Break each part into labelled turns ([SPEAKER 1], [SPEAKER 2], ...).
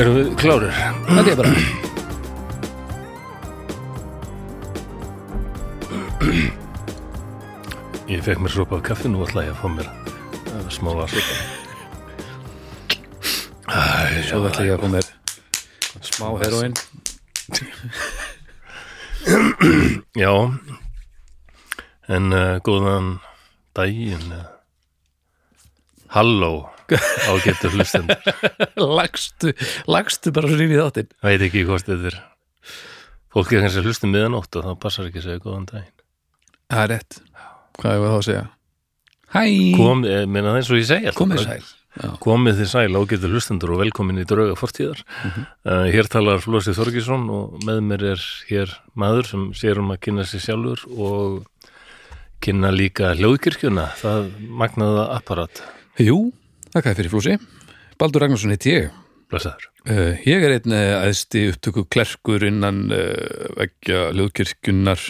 [SPEAKER 1] Erum við klárir?
[SPEAKER 2] Þetta er bara
[SPEAKER 1] Ég fekk mér sopa af kaffi nú ætla ég að fá mér eh, smá vasopa
[SPEAKER 2] Svo ætla ég að koma með smá heroin
[SPEAKER 1] Já En uh, góðan daginn uh, Halló ágættu hlustend
[SPEAKER 2] Lagstu, lagstu bara svona inn í þáttinn
[SPEAKER 1] Veit ekki hvort þetta er Fólk er kannski að hlusta miðanótt og það passar ekki að segja góðan daginn
[SPEAKER 2] Það er rétt Hvað hefur þá að segja? Hæ
[SPEAKER 1] Kom, eh, meina það eins og ég segja alltaf
[SPEAKER 2] Komið
[SPEAKER 1] bara.
[SPEAKER 2] sæl Já.
[SPEAKER 1] Komið þið sæl ágættu hlustendur og velkomin í drauga fortíðar.
[SPEAKER 2] Mhm.
[SPEAKER 1] uh, hér talar Flósi Þorgisson og með mér er hér maður sem sér um að kynna sér sjálfur og kynna líka hljóðkirkjuna, það magnaða apparat.
[SPEAKER 2] Jú, þakkaði fyrir flúsi Baldur Ragnarsson heiti ég
[SPEAKER 1] Blessaður.
[SPEAKER 2] Uh, ég er einn eh, æðsti upptöku klerkur innan uh, veggja hljóðkirkjunnar.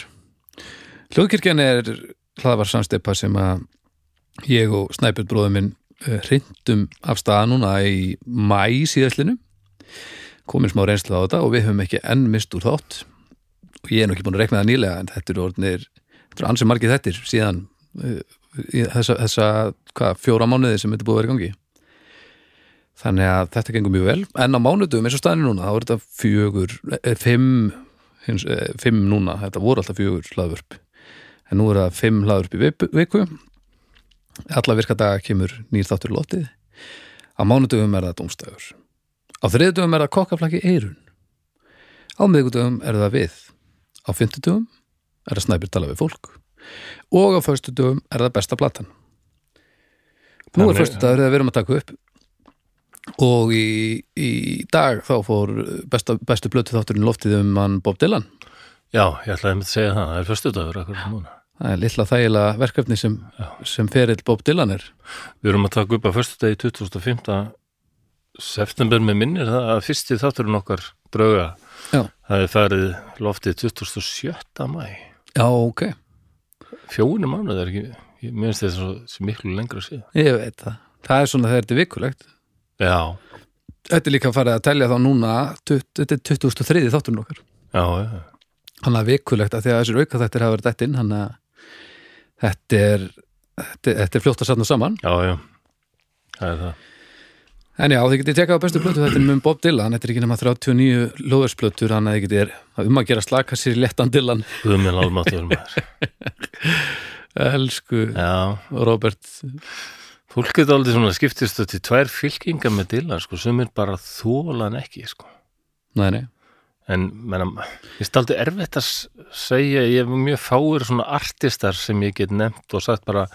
[SPEAKER 2] Hljóðkirkjan er hlaðvar samsteipa sem að ég og Snæbjörn bróðum minn uh, hrindum af staða núna í mæ síðastlinu. Komin smá reynsla á þetta og við höfum ekki enn mist úr þátt. Og ég er nú ekki búin að rekna það nýlega en þetta eru orðnir, þetta eru ansið margið þettir síðan uh, í þessa, þessa hvað, fjóra mánuði sem þetta er búið að vera í gangi. Þannig að þetta gengur mjög vel en á mánudum eins og staðin núna þá er þetta fjögur, eh, fimm hins, eh, fimm núna, þetta voru alltaf fjögur hlaðvörp en nú er það fimm hlaðvörp í viku- viku alla virka daga kemur nýr þáttur í lotið á mánudum er það dómstæður á þriðdum er það kokkaflaki eirun á miðgudum er það við á fimmtudum er það snæpir tala við fólk og á föstudum er það besta platan nú er
[SPEAKER 1] Þannig-
[SPEAKER 2] föstudagur þegar við erum að taka upp og í, í dag þá fór besta, bestu blötu þátturinn loftið um hann Bob Dylan
[SPEAKER 1] Já, ég ætlaði einmitt að segja það, það er föstudagur akkur núna.
[SPEAKER 2] það er litla þægilega verkefni sem, sem ferill Bob Dylan er
[SPEAKER 1] Við erum að taka upp að föstudagi 2005. september með minnir það að fyrsti þátturinn okkar drauga.
[SPEAKER 2] Já.
[SPEAKER 1] Það er farið loftið 27. mæ.
[SPEAKER 2] já ok,
[SPEAKER 1] Fjóni mánuð er ekki, ég minnst þetta svo, svo miklu lengra síðan.
[SPEAKER 2] ég veit það það er svona þegar þetta er vikulegt
[SPEAKER 1] Já,
[SPEAKER 2] þetta er líka farið að telja þá núna tut- þetta er 2003 þátturinn okkar
[SPEAKER 1] já, já.
[SPEAKER 2] hann er vikulegt að því að þessir auka þættir hafa verið dætt inn hann að þetta er þetta, þetta er fljótt að satna saman
[SPEAKER 1] Já, já, það er það.
[SPEAKER 2] En já, þið getið tekað á bestu plötu þetta er með Bob Dylan, þetta er ekki nema 39 lóðarsplötur, hann að þið getið er um að gera slaka sér í lettan Dylan
[SPEAKER 1] Guðminn almatur maður.
[SPEAKER 2] Elsku
[SPEAKER 1] Já,
[SPEAKER 2] Robert
[SPEAKER 1] fólk getur aldrei svona skiptist þetta í tvær fylkingar með Dylan, sko, sem er bara þólan ekki, sko.
[SPEAKER 2] Nei, nei,
[SPEAKER 1] En, menna, ég staldi erfitt að s- segja, ég hef mjög fáir svona artistar sem ég get nefnt og sagt bara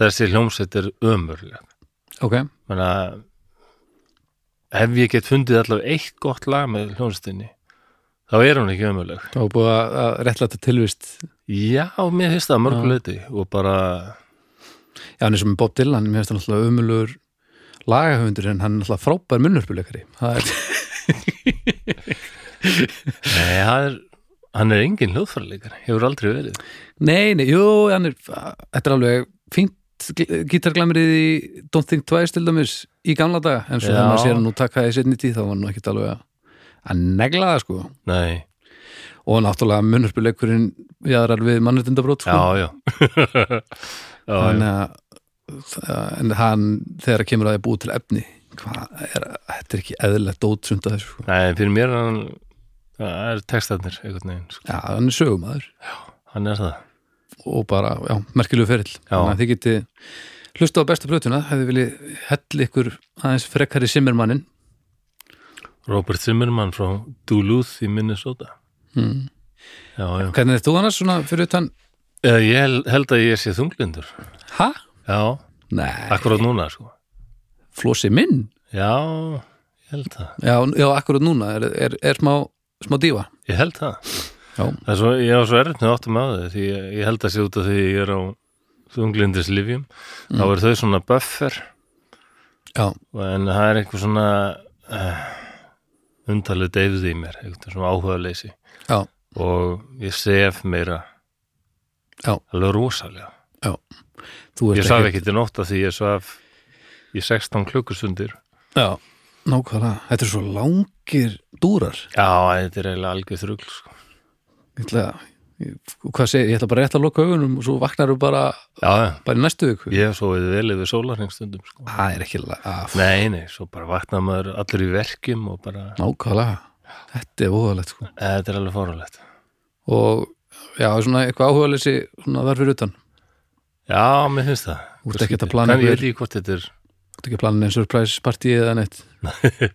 [SPEAKER 1] þessi hljómsveit er ömurleg.
[SPEAKER 2] ok
[SPEAKER 1] Menna, ef ég get fundið allavega eitt gott lag með hljómsveitinni, þá er hún ekki ömurleg.
[SPEAKER 2] Þá er búið að að réttlæta tilvist
[SPEAKER 1] Já, mér finnst það að mörgu
[SPEAKER 2] Já.
[SPEAKER 1] leiti og bara,
[SPEAKER 2] Já, hann er sem með Bob Dylan, mér finnst hann alltaf umulugur lagahöfundur en hann er alltaf frábær munnurpuleikari Það er,
[SPEAKER 1] nei, það er, hann er engin hljóðfæraleikar, hefur aldrei verið.
[SPEAKER 2] Nei, nei, jú, hann er Þetta er alveg fínt gí- gítarglamrið í Don't Think Twice til dæmis í gamla daga, en svo
[SPEAKER 1] Já.
[SPEAKER 2] þegar maður sér hann nú taka það í setni tíð, þá var hann ekki alveg að að negla það sko
[SPEAKER 1] Nei,
[SPEAKER 2] og náttúrulega munnurpuleikurinn jaðrar við mannréttindabrót sko.
[SPEAKER 1] já, já Já, já,
[SPEAKER 2] þannig að en hann þegar kemur að það búið til efni hvað er, þetta er ekki eðlilegt dótsund að þessu sko.
[SPEAKER 1] nei, fyrir mér er hann það er textarnir einhvern veginn, sko.
[SPEAKER 2] já, hann er sögumæður
[SPEAKER 1] hann er það
[SPEAKER 2] og bara, já, merkilegu ferill þannig að þið geti hlusta á bestu plötuna hefði viljið hell ykkur aðeins frekkari simmermannin
[SPEAKER 1] Robert Zimmerman frá Duluth í Minnesota
[SPEAKER 2] mm.
[SPEAKER 1] Já, já,
[SPEAKER 2] hvernig er þú annars svona fyrir utan
[SPEAKER 1] Eh, ég hel- held að ég sé þunglindur
[SPEAKER 2] ha?
[SPEAKER 1] Já,
[SPEAKER 2] Nei,
[SPEAKER 1] akkurát núna, sko
[SPEAKER 2] flósi minn
[SPEAKER 1] Já, ég held það
[SPEAKER 2] já, já akkurat núna er, er, er smá, smá dífa
[SPEAKER 1] Ég held það,
[SPEAKER 2] já,
[SPEAKER 1] það er svo, ég var svo erfitt með áttum að það, því ég, ég held að sé út af því ég er á þunglindis livjum
[SPEAKER 2] Mm.
[SPEAKER 1] þá er þau svona buffer
[SPEAKER 2] já,
[SPEAKER 1] en það er eitthvað svona uh, undalið deyfð í mér eitthvað svona áhuga leysi
[SPEAKER 2] já,
[SPEAKER 1] og ég sef meira
[SPEAKER 2] Já.
[SPEAKER 1] alveg rosalega
[SPEAKER 2] þú ert
[SPEAKER 1] ég svaf ekki til nótt af því ég svaf í 16 klukkustundir
[SPEAKER 2] Já, nákvæmlega, þetta er svo langir dúrar
[SPEAKER 1] Já, þetta er eiginlega algjör þrugl sko.
[SPEAKER 2] ég ætla, ég, hvað segi, ég ætla bara rétt að loka augunum og svo vaknar þú bara,
[SPEAKER 1] Já, já,
[SPEAKER 2] bara í næstu viku
[SPEAKER 1] ég hef sofið vel yfir sólarhengstundum sko.
[SPEAKER 2] það er ekki la- að,
[SPEAKER 1] Nei, nei, svo bara vakna maður allir í verkjum og bara,
[SPEAKER 2] nákvæmlega þetta er óðalegt sko
[SPEAKER 1] þetta er alveg fórulegt
[SPEAKER 2] og já, svona eitthvað áhugaleysi svona þar fyrir utan,
[SPEAKER 1] Já, mér finnst það
[SPEAKER 2] Þú ert
[SPEAKER 1] Hvað
[SPEAKER 2] ekkert að
[SPEAKER 1] skrítið.
[SPEAKER 2] plana
[SPEAKER 1] En Ég
[SPEAKER 2] yfir-
[SPEAKER 1] veit ekki hvort þetta er
[SPEAKER 2] þetta ekki planin en surprise party eða neitt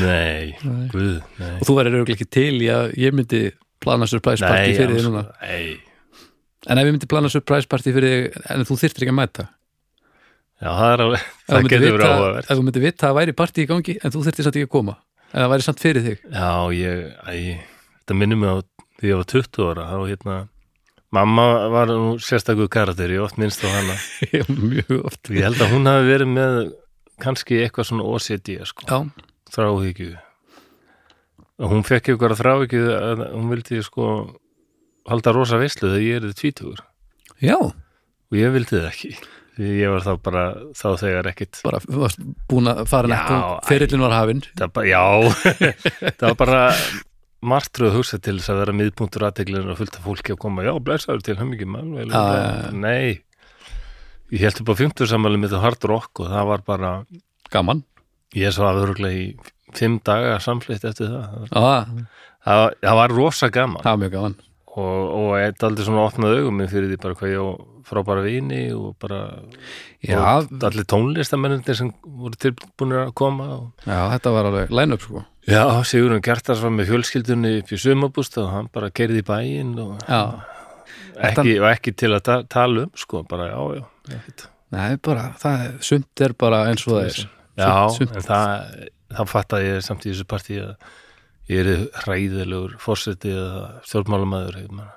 [SPEAKER 1] Nei, guð, nei
[SPEAKER 2] og þú verður auðvitað ekki til í að ég myndi plana surprise party
[SPEAKER 1] Nei,
[SPEAKER 2] fyrir
[SPEAKER 1] alls-
[SPEAKER 2] þig núna
[SPEAKER 1] nei.
[SPEAKER 2] en ef ég myndi plana surprise party fyrir þig en þú þyrftir ekki að mæta
[SPEAKER 1] Já, það er alveg
[SPEAKER 2] Ef þú
[SPEAKER 1] Það
[SPEAKER 2] myndir
[SPEAKER 1] getur verið
[SPEAKER 2] vita-
[SPEAKER 1] áhugavert
[SPEAKER 2] ef þú myndir vita að væri party í gangi en þú þyrftir samt ekki að koma en það væri samt fyrir þig
[SPEAKER 1] Já, ég, æ, þetta minnum mig á því ég var 20 ára þá hérna, mamma var nú sérstakur karakter, ég oft minnst á hana
[SPEAKER 2] Já, mjög oft
[SPEAKER 1] ég held að hún hafi verið með kannski eitthvað svona OCD sko,
[SPEAKER 2] já,
[SPEAKER 1] þráhyggju og hún fekk eitthvað þráhyggju að hún vildi sko halda rosa veislu þegar ég erið tvítugur
[SPEAKER 2] já
[SPEAKER 1] og ég vildi það ekki því ég var þá bara þá þegar ekkit
[SPEAKER 2] bara varst búin að fara
[SPEAKER 1] Já,
[SPEAKER 2] nekko
[SPEAKER 1] æ.
[SPEAKER 2] ferillin var hafinn
[SPEAKER 1] það bara, já það var bara martröð að hugsa til þess að vera miðpunktur aðteglirinn og fullt af fólki að koma, já, blæsaður til hömmingi mann, vel,
[SPEAKER 2] Já, já, já.
[SPEAKER 1] nei ég held upp á 50 sammæli með það hard rock og það var bara
[SPEAKER 2] gaman
[SPEAKER 1] ég svo aðuruglega í fimm daga samflitt eftir það það,
[SPEAKER 2] já,
[SPEAKER 1] var- það var rosa gaman
[SPEAKER 2] Ah, það var mjög gaman
[SPEAKER 1] og, og þetta aldrei svona opnaði augum minn fyrir því bara hvað ég á frábæra vini og bara
[SPEAKER 2] já,
[SPEAKER 1] og allir tónlistamennir sem voru tilbúinir að koma og
[SPEAKER 2] já, þetta var alveg line-up sko
[SPEAKER 1] Já, Sigurinn Gjartars var með fjölskyldunni upp í sumabúst og hann bara kerði í bæinn og
[SPEAKER 2] já,
[SPEAKER 1] ekki, og ekki til að ta tala um, sko, bara já, já, ekkert.
[SPEAKER 2] nei, bara, það er, sumt er bara eins og það er
[SPEAKER 1] já,
[SPEAKER 2] Sumt- sumt-
[SPEAKER 1] en það, það fattaði ég samt í þessu partí að ég er hræðilegur fórsetið eða stjórnmálamaður, ég meina.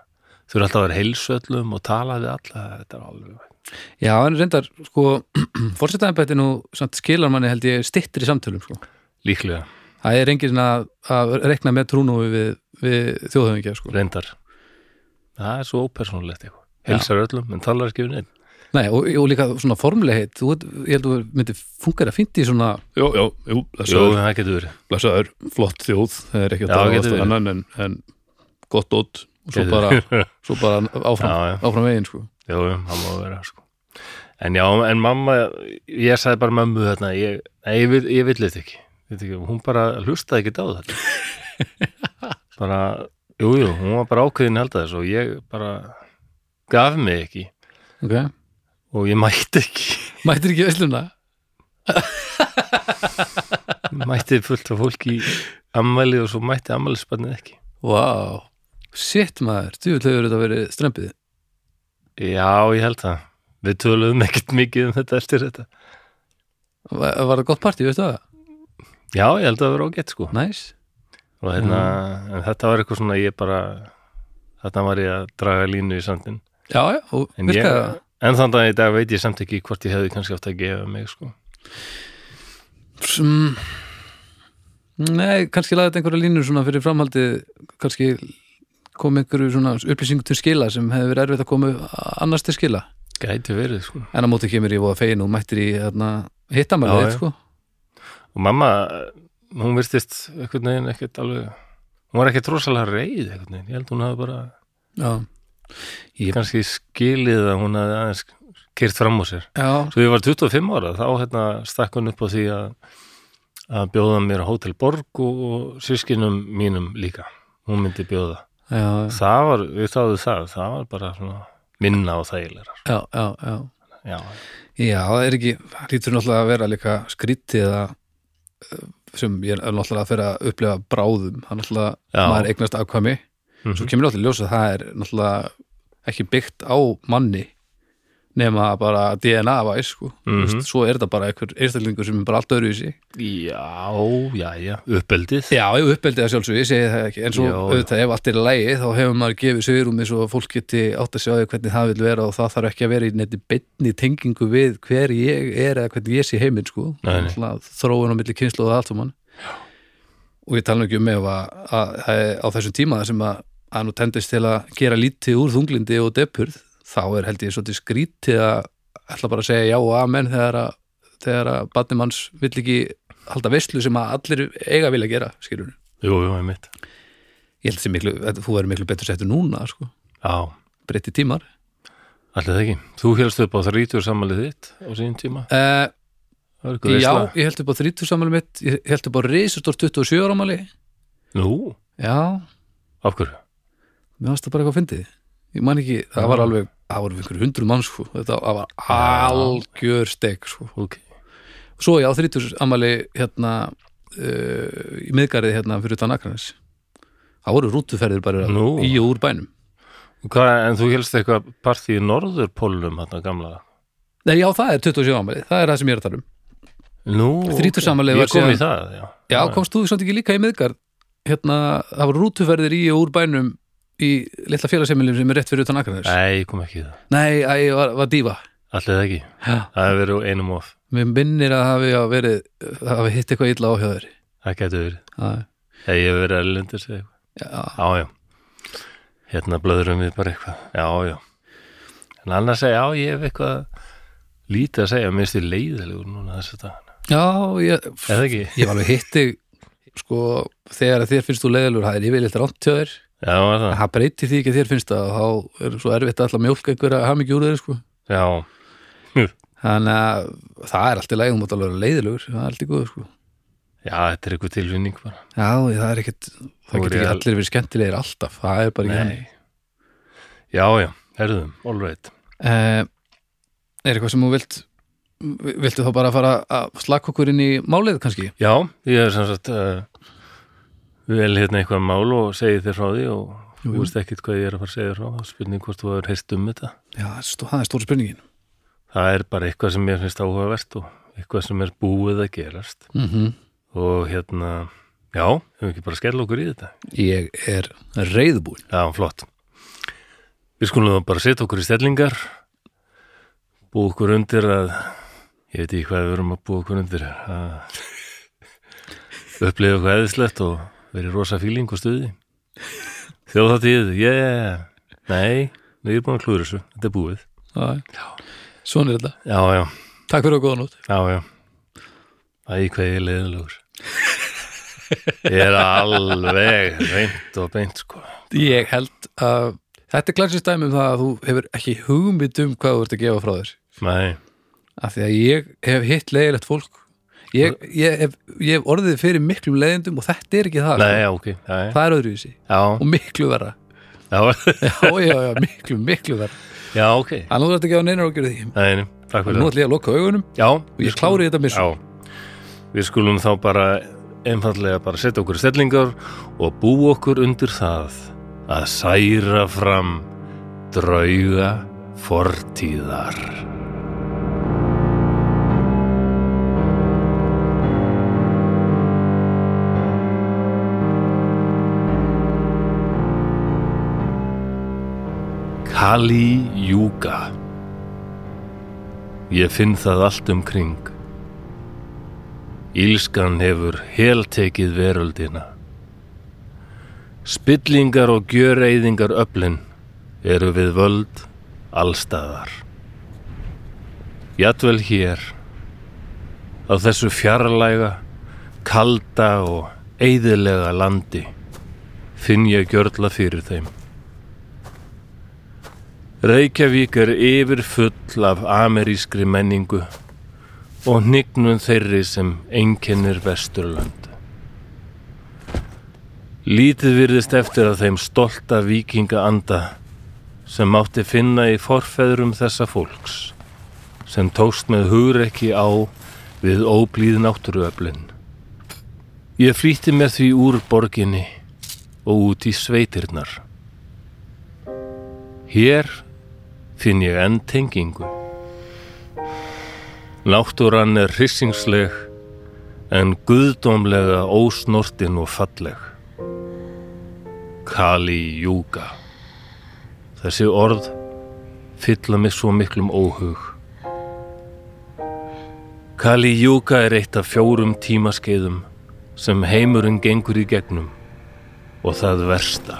[SPEAKER 1] Þú eru alltaf að vera heilsu öllum og tala við alla, þetta er alveg,
[SPEAKER 2] já, en reyndar, sko fórsetæðanbætti nú, samt skilar manni held ég stittri samtölum, sko
[SPEAKER 1] líklega,
[SPEAKER 2] það er enginn að, að rekna með trúnúi við, við þjóðhöfingja, sko
[SPEAKER 1] reyndar. Það er svo ópersónulegt eitthvað. Heilsar öllum, en talar ekki við neitt.
[SPEAKER 2] nei, og, og líka svona formulegheit þú, ert- ég held að þú myndir fungar að fyndi svona, jú, jú, jú,
[SPEAKER 1] Jó, það getur verið.
[SPEAKER 2] blessaður, flott þjóð það er ekki að
[SPEAKER 1] Já,
[SPEAKER 2] tala á
[SPEAKER 1] getur
[SPEAKER 2] alltaf
[SPEAKER 1] verið.
[SPEAKER 2] annan en, en gott ótt og svo
[SPEAKER 1] Getur
[SPEAKER 2] bara,
[SPEAKER 1] verið.
[SPEAKER 2] svo bara áfram,
[SPEAKER 1] Já, já.
[SPEAKER 2] áfram veginn sko.
[SPEAKER 1] Jú, jú, það má vera sko. En já, en mamma ég sagði bara mammu þarna ég, nei, ég, vil, ég vil þetta ekki, Þetta ekki hún bara hlustaði ekki á þetta bara, jú, jú hún var bara ákveðin held að þess og ég bara gaf mig ekki
[SPEAKER 2] okay.
[SPEAKER 1] og ég mætti ekki,
[SPEAKER 2] mættir ekki vesluna
[SPEAKER 1] mætti fullt af fólki í ammæli og svo mætti ammælisbarnið ekki
[SPEAKER 2] wow. shit maður, djúvill hefur þetta verið strempið
[SPEAKER 1] Já, ég held það Við töluðum ekkert mikið um þetta eftir þetta
[SPEAKER 2] var, var það gott partí, veistu það?
[SPEAKER 1] Já, ég held að það vera ágætt sko
[SPEAKER 2] næs, nice.
[SPEAKER 1] og hérna, en þetta var eitthvað svona ég bara, þetta var ég að draga línu í sandin,
[SPEAKER 2] já, já, og
[SPEAKER 1] en ég
[SPEAKER 2] virkaði það
[SPEAKER 1] en þannig að í dag veit ég samt ekki hvort ég hefði kannski átt að gefa mig, sko
[SPEAKER 2] Mm. Nei, kannski laðið einhverja línur svona fyrir framhaldið kannski kom einhverju svona upplýsingu til skila sem hefði verið erfitt að koma annars til skila
[SPEAKER 1] gæti verið, sko,
[SPEAKER 2] en á móti kemur ég voða fegin og mættir í þarna, hittamæli
[SPEAKER 1] Já,
[SPEAKER 2] þitt
[SPEAKER 1] já.
[SPEAKER 2] sko
[SPEAKER 1] og mamma hún virtist einhvern veginn ekkert alveg, hún var ekkert rosalega reið einhvern veginn, ég held hún hafi bara
[SPEAKER 2] já. Ég-
[SPEAKER 1] kannski skilið að hún hafi aðeins kyrt fram úr sér,
[SPEAKER 2] já,
[SPEAKER 1] svo ég var 25 ára þá hérna stakk hún upp á því að að bjóða mér á Hótel Borg og, og sískinum mínum líka hún myndi bjóða
[SPEAKER 2] já,
[SPEAKER 1] það var, við þáðum það, það var bara svona minna og þægilegra sko.
[SPEAKER 2] já, já, já.
[SPEAKER 1] já,
[SPEAKER 2] já, það er ekki það lítur náttúrulega að vera líka skrítið að eh, sem ég er náttúrulega að fyrir að upplefa bráðum hann náttúrulega,
[SPEAKER 1] Já.
[SPEAKER 2] maður eignast afkvæmi
[SPEAKER 1] Mhm.
[SPEAKER 2] svo kemur náttúrulega í ljós að það er náttúrulega ekki byggt á manni nema bara DNA-væs sko.
[SPEAKER 1] Mhm.
[SPEAKER 2] Þú veist, svo er þetta bara einhver einstaklingur sem er bara allt öðru í sig
[SPEAKER 1] já, já, já uppeldið,
[SPEAKER 2] Já, ég uppeldið að sjálfsög, ég segi það ekki en svo
[SPEAKER 1] Já, já.
[SPEAKER 2] auðvitað ef allt er í lægi þá hefur maður gefið sögurúmi svo að fólk geti átt að sjá því hvernig það vil vera og það þarf ekki að vera í neitt beinni tengingu við hver ég er eða hvernig ég sé heiminn sko
[SPEAKER 1] Nei, nei.
[SPEAKER 2] Náttúrulega þróun á milli kynslu og allt um hann og ég tala nú ekki um ef að, að, að á þessum tíma sem að, að nú tendist til að gera lítið úr þunglindi og depurð þá er held ég svolítið skrítið að ætla bara að segja já og amen þegar að, þegar að badni manns vill ekki halda veistlu sem að allir eiga vilja gera, skilur
[SPEAKER 1] jú, jú, einmitt
[SPEAKER 2] Ég held sem miklu, þetta- þú verður miklu betur settur núna, sko,
[SPEAKER 1] Já,
[SPEAKER 2] breytti tímar
[SPEAKER 1] allir það ekki Þú helst upp á 30 samalið þitt á síðan tíma
[SPEAKER 2] uh,
[SPEAKER 1] Það er ykkur
[SPEAKER 2] Já,
[SPEAKER 1] veisla.
[SPEAKER 2] ég held upp á 30 sammæli mitt, ég held upp á risastór 27 ára ámæli
[SPEAKER 1] Nú,
[SPEAKER 2] Já,
[SPEAKER 1] af hverju?
[SPEAKER 2] mér varst það bara eitthvað að fyndið Ég man ekki, það var alveg, það voru einhverjum hundru mann, sko, þetta það var algjör stek, sko
[SPEAKER 1] Ok,
[SPEAKER 2] Svo ég á 30 ammæli hérna uh, í miðgarið hérna fyrir utan Akranes Það voru rútuferðir bara
[SPEAKER 1] Nú.
[SPEAKER 2] í og úr bænum
[SPEAKER 1] Hva, en þú helst eitthvað partí í norðurpólum hérna gamla
[SPEAKER 2] Nei, já, það er 27 ammæli, það er það sem ég er að tala um
[SPEAKER 1] Nú,
[SPEAKER 2] 30 afmælið var
[SPEAKER 1] ég kom í
[SPEAKER 2] síðan-
[SPEAKER 1] það Já,
[SPEAKER 2] Já, komst þú samt ekki líka í miðgarð hérna, það voru rútuferðir í og úr bænum í litla félagseimilum sem er rétt fyrir utan Akranes
[SPEAKER 1] Nei, ég kom ekki í það
[SPEAKER 2] Nei, að ég var, var dífa
[SPEAKER 1] Allir það ekki, það hefur verið úr einum of
[SPEAKER 2] Mér minnir að hafi já verið það hafi hitt eitthvað illa á hjá þér
[SPEAKER 1] Það getur verið
[SPEAKER 2] Það-
[SPEAKER 1] Ég hef verið erlendur segja
[SPEAKER 2] já.
[SPEAKER 1] Já, já. Hérna blöðurum við bara eitthvað. Já, já. En annars segja, já, ég hef eitthvað lítið að segja, mér styrir leiðilegur núna þessu dagana.
[SPEAKER 2] Já, ég,
[SPEAKER 1] Eða ekki?
[SPEAKER 2] ég var alveg hitti sko, þegar að þér finnst þú leiðalur það er yfirleitt rátt hjá þér
[SPEAKER 1] Já, var það.
[SPEAKER 2] það breytir því ekki að þér finnst það og þá er svo erfitt alltaf mjólk einhverja hamingi úr þeir sko.
[SPEAKER 1] Já,
[SPEAKER 2] þannig að það er allt í lægum mátt alveg leiðilegur, það er allt í góð sko.
[SPEAKER 1] já, þetta er eitthvað tilvinning bara.
[SPEAKER 2] Já, það er ekkit
[SPEAKER 1] Þú
[SPEAKER 2] það
[SPEAKER 1] er
[SPEAKER 2] getur ekki
[SPEAKER 1] ég-
[SPEAKER 2] allir verið skemmtilegir alltaf það er bara ekki
[SPEAKER 1] Nei. Já, já, herðum, all right.
[SPEAKER 2] Eh, Er eitthvað sem þú vilt viltu þá bara fara að slaka okkur inn í málið kannski?
[SPEAKER 1] Já, ég er sem sagt uh, vel hérna eitthvað mál og segi þér frá því og
[SPEAKER 2] Jú,
[SPEAKER 1] þú
[SPEAKER 2] jú.
[SPEAKER 1] veist ekkit hvað ég er að fara að segja þér frá. Spurning hvort þú hefur heist um þetta.
[SPEAKER 2] Já, það er stó- það er stóra spurningin
[SPEAKER 1] Það er bara eitthvað sem mér finnst áhugavert og eitthvað sem er búið að gerast.
[SPEAKER 2] mm
[SPEAKER 1] og hérna, já, hefum við ekki bara að skella okkur í þetta.
[SPEAKER 2] Ég er reyðbúin
[SPEAKER 1] Já, flott. Við skulum þá bara setja okkur í stellingar, búa okkur undir að, ég veit ekki hvað við verum að búa okkur undir, að upplifa eitthvað eðislegt og verið rosa fíling og stuði. Þjóðháttið, yeah, nei, við erum búin að klúður þessu, þetta er búið.
[SPEAKER 2] Svona er þetta
[SPEAKER 1] Já, já,
[SPEAKER 2] Takk fyrir og góða nótt
[SPEAKER 1] já, já. Æ, hvað ég er leiðilegur. Ég er alveg reynd og beint, sko.
[SPEAKER 2] Ég held að þetta er klarsist dæmi um það að þú hefur ekki hugmynd um hvað þú ert að gefa frá þér
[SPEAKER 1] Nei,
[SPEAKER 2] af því að ég hef hitt leiðilegt fólk ég, ég, hef, ég hef orðið fyrir miklum leiðindum og þetta er ekki það
[SPEAKER 1] nei,
[SPEAKER 2] sko.
[SPEAKER 1] já, ok já,
[SPEAKER 2] Það er öðruvísi
[SPEAKER 1] já,
[SPEAKER 2] og miklu verra
[SPEAKER 1] já,
[SPEAKER 2] Já, já, já, miklu, miklu verra
[SPEAKER 1] já, ok
[SPEAKER 2] Þannig að þú ert ekki á neinar og gera því
[SPEAKER 1] Nei, nei, takk fyrir
[SPEAKER 2] Nú
[SPEAKER 1] það
[SPEAKER 2] ætlum ég að loka augunum
[SPEAKER 1] Já,
[SPEAKER 2] og ég klári þetta mér svo
[SPEAKER 1] Já, við skulum þá bara einfallega bara setja okkur í stellingar og búa okkur undir það að særa fram drauga fortíðar Kali Júga Ég finn það allt um kring Ílskan hefur heltekið veröldina. Spillingar og gjöreyðingar öflin eru við völd allstaðar. Jadvel hér, á þessu fjarlæga, kalda og eyðilega landi, finn ég gjörla fyrir þeim. Reykjavík er yfirfull af amerískri menningu og hnignun þeirri sem einkennir Vesturlönd. Lítið virðist eftir að þeim stolta vikinga anda sem mátti finna í forfeðrum þessa fólks sem tókst með hugrekki á við óblíð náttúruöflin. Ég flýtti mér því úr borginni og út í sveitirnar. Hér finn ég enn tengingu. Náttúran er hrissingsleg en guðdómlega ósnortin og falleg. Kali Júga. Þessi orð fylla mig svo miklum óhug. Kali Júga er eitt af fjórum tímaskeiðum sem heimurinn gengur í gegnum og það versta.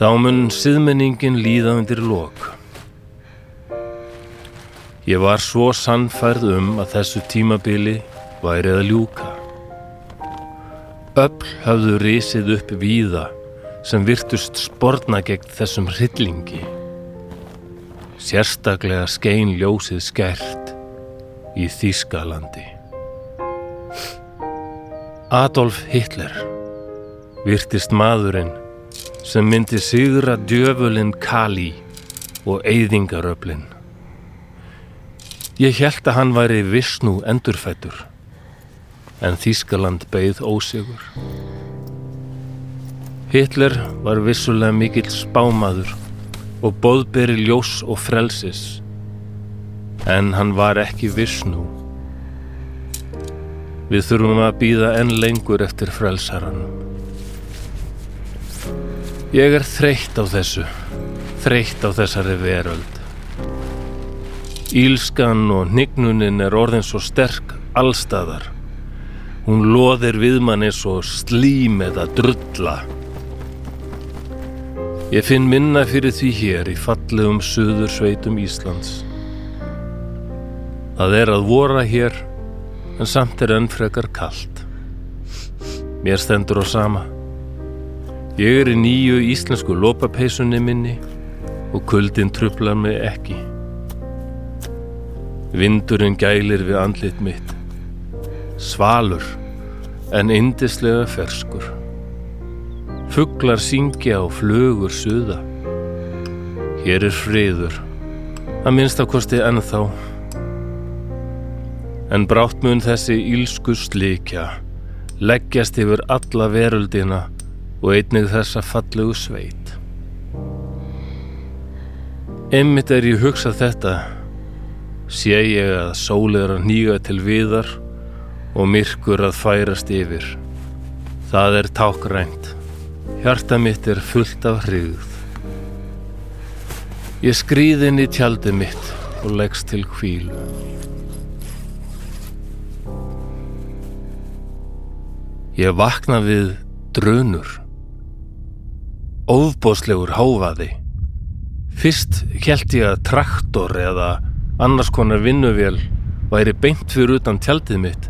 [SPEAKER 1] Þá mun siðmenningin líða undir lok. Ég var svo sannfærð um að þessu tímabili væri að ljúka. Öll höfðu risið upp víða sem virtust sporna gegn þessum hryllingi. Sérstaklega skein ljósið skert í Þýskalandi. Adolf Hitler virtist maðurinn sem myndi sigra djöfulinn Kali og eyðingaröflinn. Ég held að hann væri Visnú endurfættur en Þýskaland beigð ósigur. Hitler var vissulega mikill spámaður og boðberi ljós og frelsis en hann var ekki Visnú. Við þurfum að býða enn lengur eftir frelsaranum. Ég er þreytt á þessu, þreytt á þessari veröld. Ílskan og hnignunin er orðin svo sterk allstaðar. Hún loðir við manni svo slím eða drulla. Ég finn minna fyrir því hér í fallegum suður sveitum Íslands. Það er að vora hér, en samt er enn frekar kalt. Mér stendur á sama. Ég er í nýju íslensku lopapeysunni minni og kuldin trublar mig ekki. Vindurinn gælir við andlit mitt. Svalur, en indislega ferskur. Fuglar syngja og flögur suða. Hér er friður. Að minnstakosti ennþá. En brátt mun þessi ílsku slíkja leggjast yfir alla veröldina og einnig þessa fallegu sveit. Einmitt er ég hugsað þetta sé ég að sól er að nýga til viðar og myrkur að færast yfir. Það er tákrænt. Hjarta mitt er fullt af hrigð. Ég skríð inn í tjaldi mitt og leggst til hvílu. Ég vakna við drönur. Óðbóðslegur háfaði. Fyrst held ég að traktor eða annars konar vinnuvél væri beint fyrir utan tjaldið mitt.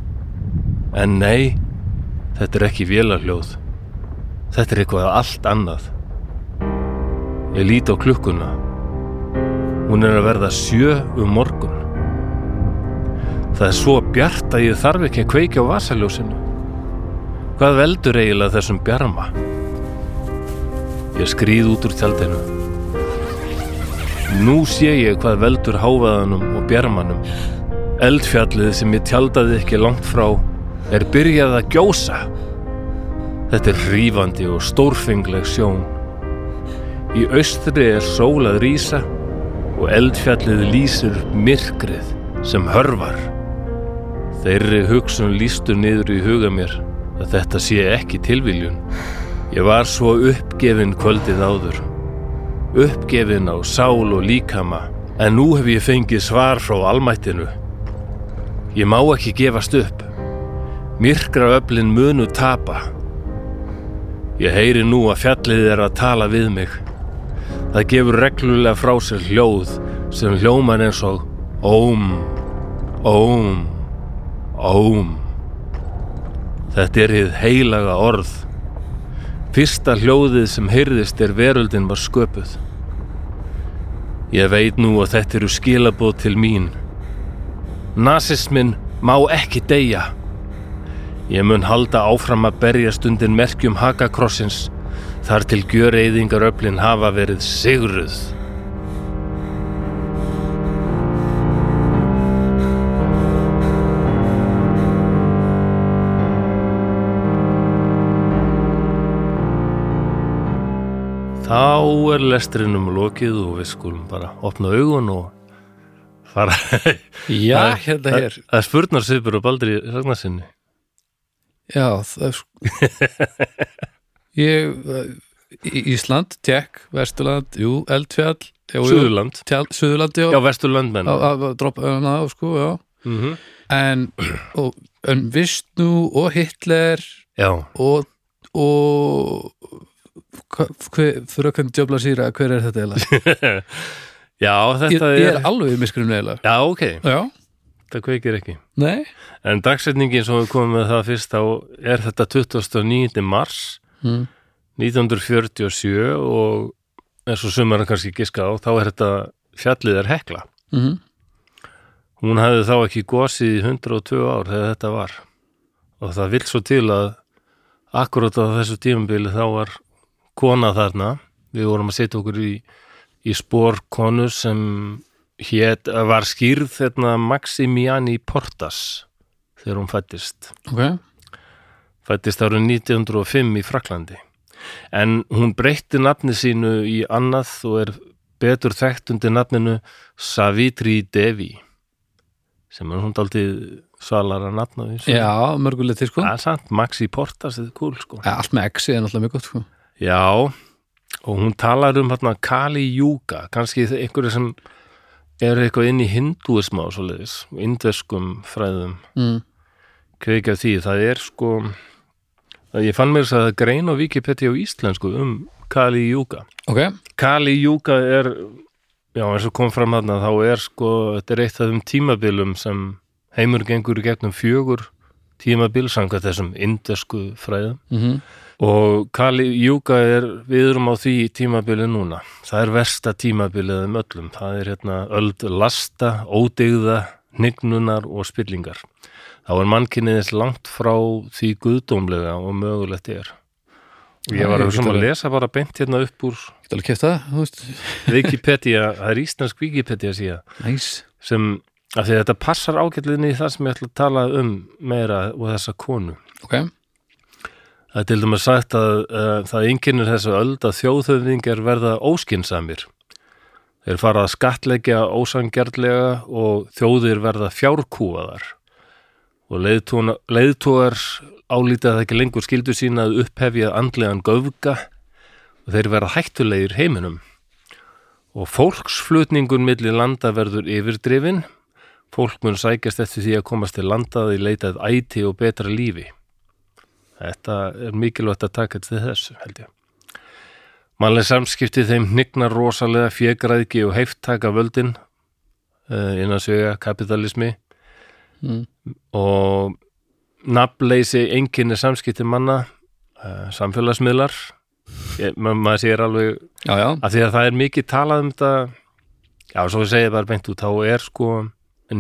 [SPEAKER 1] En nei, þetta er ekki vélarhljóð. Þetta er eitthvað allt annað. Ég lít á klukkuna. Hún er að verða sjö um morgun. Það er svo bjart að ég þarf ekki að kveikja á vasaljósinu. Hvað veldur eiginlega þessum bjarma? Ég skrýð út úr tjaldinu. Nú sé ég hvað veldur hávaðanum og bjarmanum. Eldfjallið sem ég tjaldaði ekki langt frá er byrjað að gjósa. Þetta er hrífandi og stórfengleg sjón. Í austri er sól að rýsa og eldfjallið lýsir myrkrið sem hörvar. Þeirri hugsun lýstu niður í huga mér að þetta sé ekki tilviljun. Ég var svo uppgefin kvöldið áður. Uppgefin á sál og líkama, en nú hef ég fengið svar frá almættinu. Ég má ekki gefast upp. Myrkra öflin munu tapa. Ég heyri nú að fjallið er að tala við mig. Það gefur reglulega frá sér hljóð sem hljóman eins og óm, óm, óm. Þetta er hið heilaga orð. Fyrsta hljóðið sem heyrðist er veröldin var sköpuð. Ég veit nú að þetta eru skilabóð til mín. Nasismin má ekki deyja. Ég mun halda áfram að berjast undir merkjum um hakakrossins þar til gjöreyðingaröflin hafa verið sigruð. Þá er lestrinum lokið og við skulum bara opna augun og fara
[SPEAKER 2] Já, hérna
[SPEAKER 1] Það-
[SPEAKER 2] hér
[SPEAKER 1] Það spurnar Sipur og Baldri Ragnarsinni
[SPEAKER 2] Já, það er sko Ég eh, Í- Ísland, Tjekk, Vesturland Jú, Eldfjall jú, jú,
[SPEAKER 1] Suðurland,
[SPEAKER 2] Tjál- Suðurland, já,
[SPEAKER 1] já Vesturlandmenn
[SPEAKER 2] Á- á- á- Dropa hana á, sko, já
[SPEAKER 1] mm
[SPEAKER 2] En, og, en Vistnú og Hitler
[SPEAKER 1] Já,
[SPEAKER 2] og, og hva- hver, frökkum djöfla síra, hver er þetta eiginlega?
[SPEAKER 1] Já,
[SPEAKER 2] Ég,
[SPEAKER 1] þetta
[SPEAKER 2] ég
[SPEAKER 1] er...
[SPEAKER 2] er alveg miskrum neðilega
[SPEAKER 1] Já, ok,
[SPEAKER 2] Já,
[SPEAKER 1] þetta kveikir ekki.
[SPEAKER 2] nei
[SPEAKER 1] En dagsetningin sem við komum með það fyrst á er þetta 29. mars
[SPEAKER 2] mm.
[SPEAKER 1] 1947 og eins og sumar hann kannski giska á, þá er þetta fjallið er hekla.
[SPEAKER 2] Mm.
[SPEAKER 1] Hún hafði þá ekki gosið í 102 ár þegar þetta var. Og það vill svo til að akkurat á þessu tímabili þá var kona þarna. Við vorum að setja okkur í, í spór konu sem hét, var skýrð þarna Maximiani Portas þegar hún fættist.
[SPEAKER 2] Ok,
[SPEAKER 1] Fættist árið 1905 í Fraklandi. En hún breytti nafni sínu í annað og er betur þekkt undir nafninu Savitri Devi sem er hún daldið svalara nafna því.
[SPEAKER 2] já, mörgulegt sko
[SPEAKER 1] Það
[SPEAKER 2] ja,
[SPEAKER 1] er sant, Maxi Portas, þetta er cool sko.
[SPEAKER 2] Allt með X er náttúrulega mjög gott sko
[SPEAKER 1] Já, og hún talar um hérna Kali Yuga, kannski einhverju sem er eitthvað inn í hindúisma og svoleiðis, indverskum fræðum
[SPEAKER 2] mm.
[SPEAKER 1] kveikja því, það er sko að ég fann mér þess að það grein á Wikipedia á íslensku um Kali Yuga.
[SPEAKER 2] Ok,
[SPEAKER 1] Kali Yuga er já, eins og kom fram þarna, þá er sko þetta er eitt af þeim tímabilum sem heimur gengur í gegnum fjögur tímabil sanga þessum indesku fræðum
[SPEAKER 2] mm
[SPEAKER 1] og Kali Yuga er við erum á því tímabili núna það er versta tímabilið um öllum það er hérna öld lasta, ódegða hnygnunar og spillingar þá er mannkinniðis langt frá því guðdómlega og mögulegt er og ég var að
[SPEAKER 2] Já, ég
[SPEAKER 1] hugsa um
[SPEAKER 2] get
[SPEAKER 1] að
[SPEAKER 2] alveg-
[SPEAKER 1] lesa bara beint hérna upp úr
[SPEAKER 2] geta alveg kæft það, þú veist
[SPEAKER 1] Wikipedia, það er íslensk Wikipedia síða
[SPEAKER 2] Næs
[SPEAKER 1] sem, af því að þetta passar ágætlinni í það sem ég ætla að tala um meira og þessa konu.
[SPEAKER 2] Ok,
[SPEAKER 1] Það er til dæmis sagt að uh, það einkennir þessu öld að þjóðhöfðingar verða óskinsamir. Þeir fara að skattleggja ósangjarlega og þjóðir verða fjárkúaðar og leiðtúna- leiðtúar álítið að ekki lengur skildu sína að upphefja andlegan göfga og þeir verða hættulegir heiminum. Og fólksflutningun milli landa verður yfirdrifin, fólk mun sækjast eftir því að komast til landaði leitað æti og betra lífi. Þetta er mikilvægt að taka til þessu, held ég. Mannleg samskipti þeim hnygnar rosalega fjegraðgi og heiftaka völdin uh, innan sögja kapitalismi
[SPEAKER 2] Mm.
[SPEAKER 1] og nafnleysi enginni samskipti manna, uh, samfélagsmiðlar, ég, ma maður sér alveg
[SPEAKER 2] já, já,
[SPEAKER 1] að því að það er mikið talað um þetta já, svo við segja bara beint út þá er sko,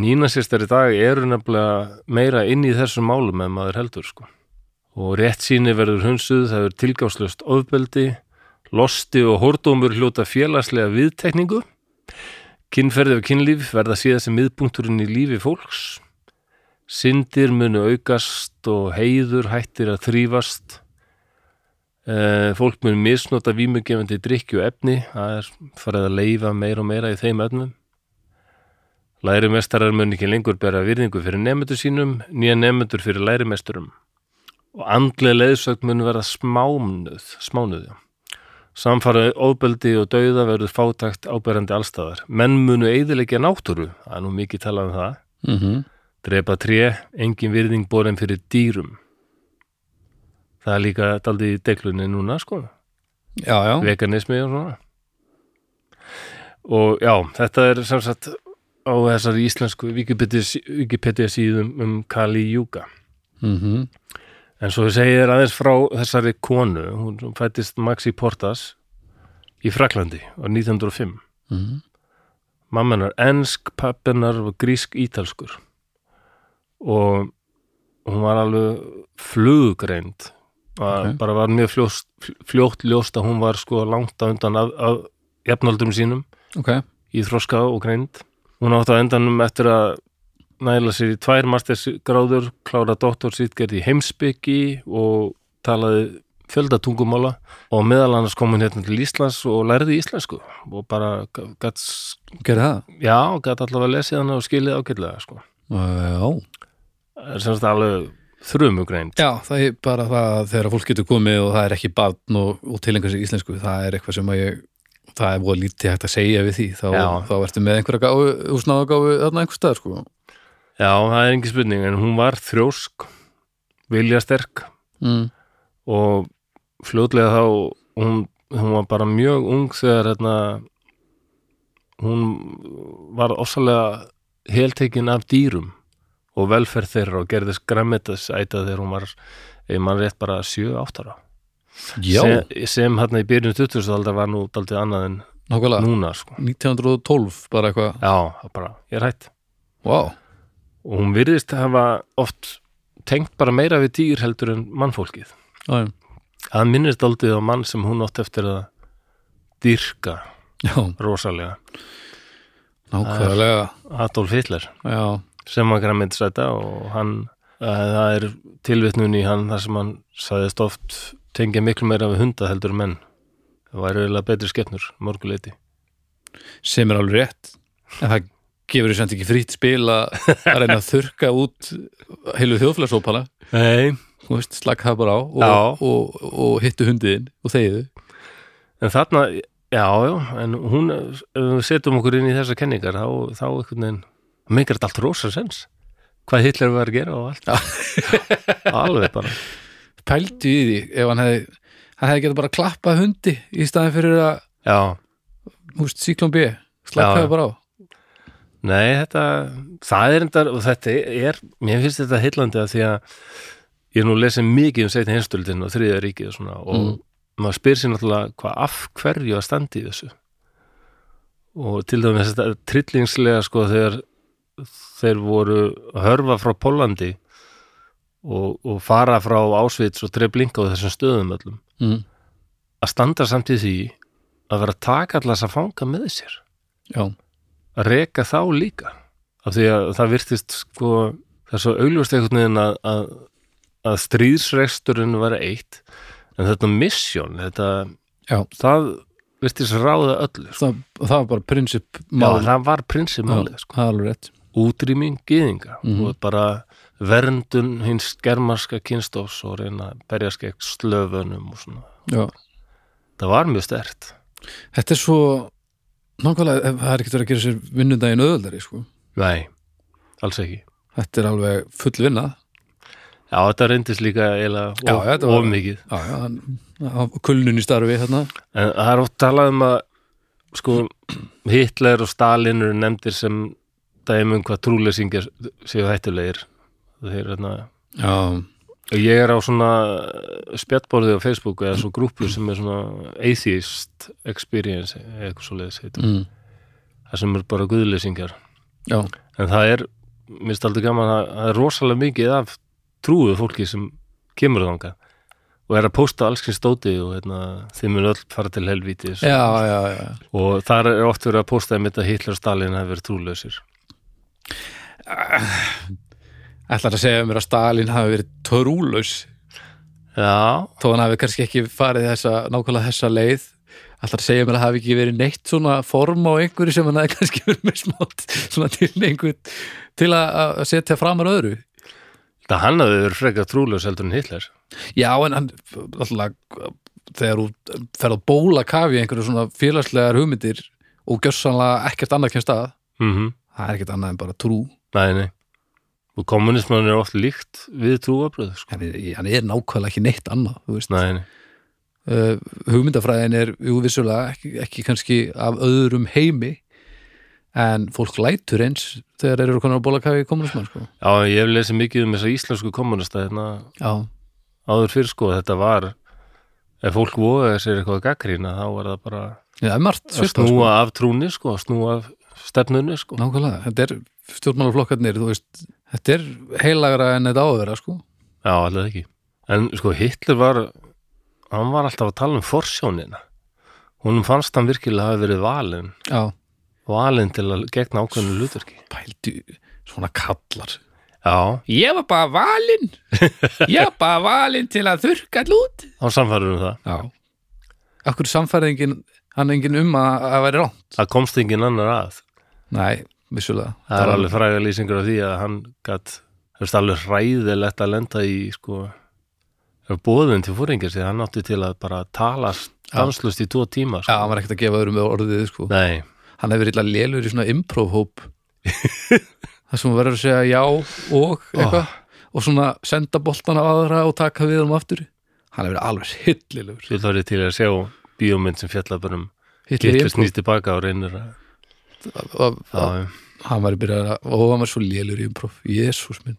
[SPEAKER 1] nýna sýstar í dag eru nefnilega meira inn í þessum málum en maður heldur sko og rétt síni verður hunsuð, það verður tilgáslust ofbeldi, losti og hórdómur hljóta félagslega viðtekningu kynferði og kynlíf verða síðast sem miðpunkturinn í lífi fólks syndir munu aukast og heiður hættir að þrýfast Eh, fólk mun misnota vímugefandi drikki og efni, það er farið að leifa meira og meira í þeim efnum Lærumestarar mun ekki lengur bera virðingu fyrir nefnendur sínum nýja nefnendur fyrir lærumesturum og andlega leiðsögn mun verða smánuð, smánuð já. Samfara óbeldi og dauða verður fátækt áberandi allstæðar. Menn munu eiðilegja náttúru, það er nú mikið talað um það
[SPEAKER 2] mm
[SPEAKER 1] drepa tré, engin virðing borin fyrir dýrum. Það er líka daldið í deglunni núna, sko,
[SPEAKER 2] já, já
[SPEAKER 1] veganismi og svona. Og já, þetta er sem sagt á þessari íslensku Wikipedia, Wikipedia síðum um Kali Yuga.
[SPEAKER 2] mm
[SPEAKER 1] En svo segir aðeins frá þessari konu, hún fættist Maxi Portas í Fraklandi á 1905.
[SPEAKER 2] Mhm.
[SPEAKER 1] Mammenar ensk, pappinar og grísk ítalskur. Og hún var alveg flugreind. Okay.
[SPEAKER 2] Ok.
[SPEAKER 1] Bara var mjög fljóst, fljótt ljóst að hún var sko langt á undan af, af jafnaldrum sínum
[SPEAKER 2] Ok,
[SPEAKER 1] í þroska og greind. Hún átti á endanum eftir að næla sér í tvær mastersgráður, klára doktor sitt gerði í heimsbyggi og talaði fjölda tungumála og meðal annars kom hún hérna til Íslands og lærði íslensku og bara gætt,
[SPEAKER 2] gerði það
[SPEAKER 1] já, gætt allavega lesið hana og skilið ágætlega, sko.
[SPEAKER 2] Já,
[SPEAKER 1] Það er semst alveg þrumugreind.
[SPEAKER 2] já það er bara það að þegar fólk getur komið og það er ekki barn og, og tilengar sér íslensku, það er eitthvað sem að ég það er voða lítið hægt að segja við því þá,
[SPEAKER 1] Já.
[SPEAKER 2] þá ertu með einhverja gáfu, húsnáðagáfu þarna einhver stað, sko
[SPEAKER 1] Já, það er engin spurning, en hún var þrjósk, viljasterk
[SPEAKER 2] mm.
[SPEAKER 1] og fljótlega þá hún, hún var bara mjög ung þegar hérna hún var ofsalega heltekin af dýrum og velferð þeirra og gerðist grammetasæta þegar hún var, ef mann rétt bara 7-8 ára
[SPEAKER 2] Já,
[SPEAKER 1] sem, sem hérna í byrjun 20. aldar var nú daldið annað en
[SPEAKER 2] nákvæmlega
[SPEAKER 1] núna sko.
[SPEAKER 2] 1912 bara eitthvað
[SPEAKER 1] já, það bara, ég er hætt
[SPEAKER 2] Vá,
[SPEAKER 1] og hún virðist hafa oft tengt bara meira við dýr heldur en mannfólkið
[SPEAKER 2] já, já.
[SPEAKER 1] það minnist aldrei á mann sem hún átt eftir að dyrka
[SPEAKER 2] já
[SPEAKER 1] rosalega
[SPEAKER 2] nákvæmlega
[SPEAKER 1] Adolf Hitler
[SPEAKER 2] Já,
[SPEAKER 1] sem var græmmetisæta og hann eh, það er tilvitnun í hann þar sem hann sagðist oft tengja miklu meira við hunda heldur en menn það væri eiginlega betri skepnur morguleiti
[SPEAKER 2] sem er alveg rétt en það gefur þér samt ekki frýtt spil að að reyna að þurka út heilu þjóðfélagsópana
[SPEAKER 1] Nei,
[SPEAKER 2] þú veist, slaka það bara á og,
[SPEAKER 1] Já.
[SPEAKER 2] og, og, hittu hundiðin og þegiðu
[SPEAKER 1] en þarna já, já, en hún ef við setjum okkur inn í þessar kenningar þá, þá einhvern veginn, það meikar þetta allt rosa sens hvað Hitler var að gera og allt alveg bara
[SPEAKER 2] pældu í því ef hann hefði hann hefði getað bara klappað hundi í staðin fyrir að,
[SPEAKER 1] já,
[SPEAKER 2] þú veist, síklum B
[SPEAKER 1] Já, já.
[SPEAKER 2] slaka það bara á
[SPEAKER 1] Nei, þetta, það er endar og þetta er, mér finnst þetta heillandi að því að ég er nú lesið mikið um setni hinstöldin og þriðja ríkið og svona og
[SPEAKER 2] Mm.
[SPEAKER 1] maður spyr sér náttúrulega hvað af hverju að standi í þessu og til dæmis þetta trillingslega sko þegar þeir voru að hörfa frá Pólandi og, og fara frá Ásvits og Treblinka og þessum stöðum öllum
[SPEAKER 2] mm.
[SPEAKER 1] að standa samt í því að vera að taka allas að fanga með sér
[SPEAKER 2] já,
[SPEAKER 1] að reka þá líka af því að það virtist sko það er svo augljóst einhvern veginn að, að, að stríðsreksturinn var eitt en þetta misjón þetta,
[SPEAKER 2] já,
[SPEAKER 1] það virtist ráða öllu sko.
[SPEAKER 2] það, það var bara prinsip
[SPEAKER 1] Já,
[SPEAKER 2] mál,
[SPEAKER 1] það var prinsipmálið sko.
[SPEAKER 2] það er alveg rétt
[SPEAKER 1] útrýming gyðinga
[SPEAKER 2] Mhm.
[SPEAKER 1] og bara verndun hins germarska kynstofs og reyna að berjast gegn slöfunum og svona
[SPEAKER 2] já.
[SPEAKER 1] það var mjög stert
[SPEAKER 2] þetta er svo nákvæmlega, það er ekkert verið að gera sér vinnundaginn öðuldari, sko
[SPEAKER 1] nei, alls ekki
[SPEAKER 2] þetta er alveg full vinna
[SPEAKER 1] já, þetta reyndist líka eiginlega
[SPEAKER 2] Já,
[SPEAKER 1] of,
[SPEAKER 2] þetta var-
[SPEAKER 1] of mikið
[SPEAKER 2] já, já, hann, hann, kulnun í starfi hérna. þarna
[SPEAKER 1] En það er oft talað um að sko, Hitler og Stalin eru nefndir sem dæmi um hvað trúleysingjar séu hættulegir þeir, hérna,
[SPEAKER 2] já,
[SPEAKER 1] og ég er á svona spjallborði á Facebook eða svo grúpu sem er svona atheist experience eða eitthvað svo leiðis heitum
[SPEAKER 2] mm,
[SPEAKER 1] það sem eru bara guðleysingjar
[SPEAKER 2] já,
[SPEAKER 1] en það er, minnst aldrei gaman að það er rosalega mikið af trúðu fólki sem kemur þangað og er að pósta alls kynst stóti og hérna, þið mun öll fara til helvítis
[SPEAKER 2] já, já, já.
[SPEAKER 1] og þar er oft verið að postaði mitt að Hitler og Stalin hafi verið trúlausir
[SPEAKER 2] ætlar að segja um mér að Stalin hafi verið trúlaus
[SPEAKER 1] Já,
[SPEAKER 2] þó hann hafi kannski ekki farið þessa, nákvæmlega þessa leið ætlar að segja um mér að hafi ekki verið neitt svona form á einhverju sem hann hafi kannski verið með smátt svona til einhver til að, að setja framar öðru
[SPEAKER 1] það hann hafi verið frekar trúlaus heldur en Hitler
[SPEAKER 2] já, en hann alltaf þegar þú ferð að bóla kafi einhverju svona félagslegar hugmyndir og gjörsanlega ekkert annað kemst að
[SPEAKER 1] mm
[SPEAKER 2] það er ekkert annað en bara trú
[SPEAKER 1] Nei, nei og kommunismann er oft líkt við trúabröð sko.
[SPEAKER 2] hann er, hann er nákvæmlega ekki neitt annað þú veist.
[SPEAKER 1] Nei, nei,
[SPEAKER 2] uh, hugmyndafræðin er jú vissulega ekki, ekki kannski af öðrum heimi en fólk lætur eins þegar þeir eru konar að bólakafi í komunismann sko.
[SPEAKER 1] já, ég hef lesið mikið um þessa íslensku kommunista hérna
[SPEAKER 2] já,
[SPEAKER 1] áður fyrir sko, þetta var ef fólk vogaði sér eitthvað að gaggrína þá var það bara
[SPEAKER 2] það er margt
[SPEAKER 1] að
[SPEAKER 2] svipað, sko.
[SPEAKER 1] snúa af trúni sko, að snúa af stefnunni sko.
[SPEAKER 2] nákvæmlega, þetta er stjórnmálaflokkarnir þú veist, þetta er heilagra en þetta áverða sko.
[SPEAKER 1] Já, alveg ekki. En sko Hitler var, hann var alltaf að tala um forsjónina. Hún fannst hann virkilega hafa verið valinn,
[SPEAKER 2] já,
[SPEAKER 1] valinn til að gegna ákveðinu hlutverki.
[SPEAKER 2] pældu svona kallar
[SPEAKER 1] Já,
[SPEAKER 2] ég var bara valinn ég var bara valinn til að þurka lút
[SPEAKER 1] þá samfærum við það.
[SPEAKER 2] já, akkur samfæringin hann engin um að að það væri rá
[SPEAKER 1] Það komst engin annar að.
[SPEAKER 2] Nei, vissulega
[SPEAKER 1] Það er alveg fræga lýsingur af því að hann gat, það veist alveg hræðilegt að lenda í sko, bóðin til fóringar því að hann átti til að bara tala stanslust í tvo tíma.
[SPEAKER 2] Já,
[SPEAKER 1] Sko.
[SPEAKER 2] hann var ekkert að gefa öðrum orðið sko.
[SPEAKER 1] Nei,
[SPEAKER 2] Hann hefur illa lélur í svona improv-hóp Það sem hún verður að segja já og eitthvað Og svona senda boltan á aðra og taka við um aftur Hann hefur verið alveg hillilegur
[SPEAKER 1] svo þarf ég til að sjá bíómynd sem fjallaburum.
[SPEAKER 2] Hitler í
[SPEAKER 1] Hitler
[SPEAKER 2] improv
[SPEAKER 1] snýst tilbaka og reynir að
[SPEAKER 2] veist að, að,
[SPEAKER 1] já.
[SPEAKER 2] hann var byrjað að, og hann var svo lélur í umprof, jésús minn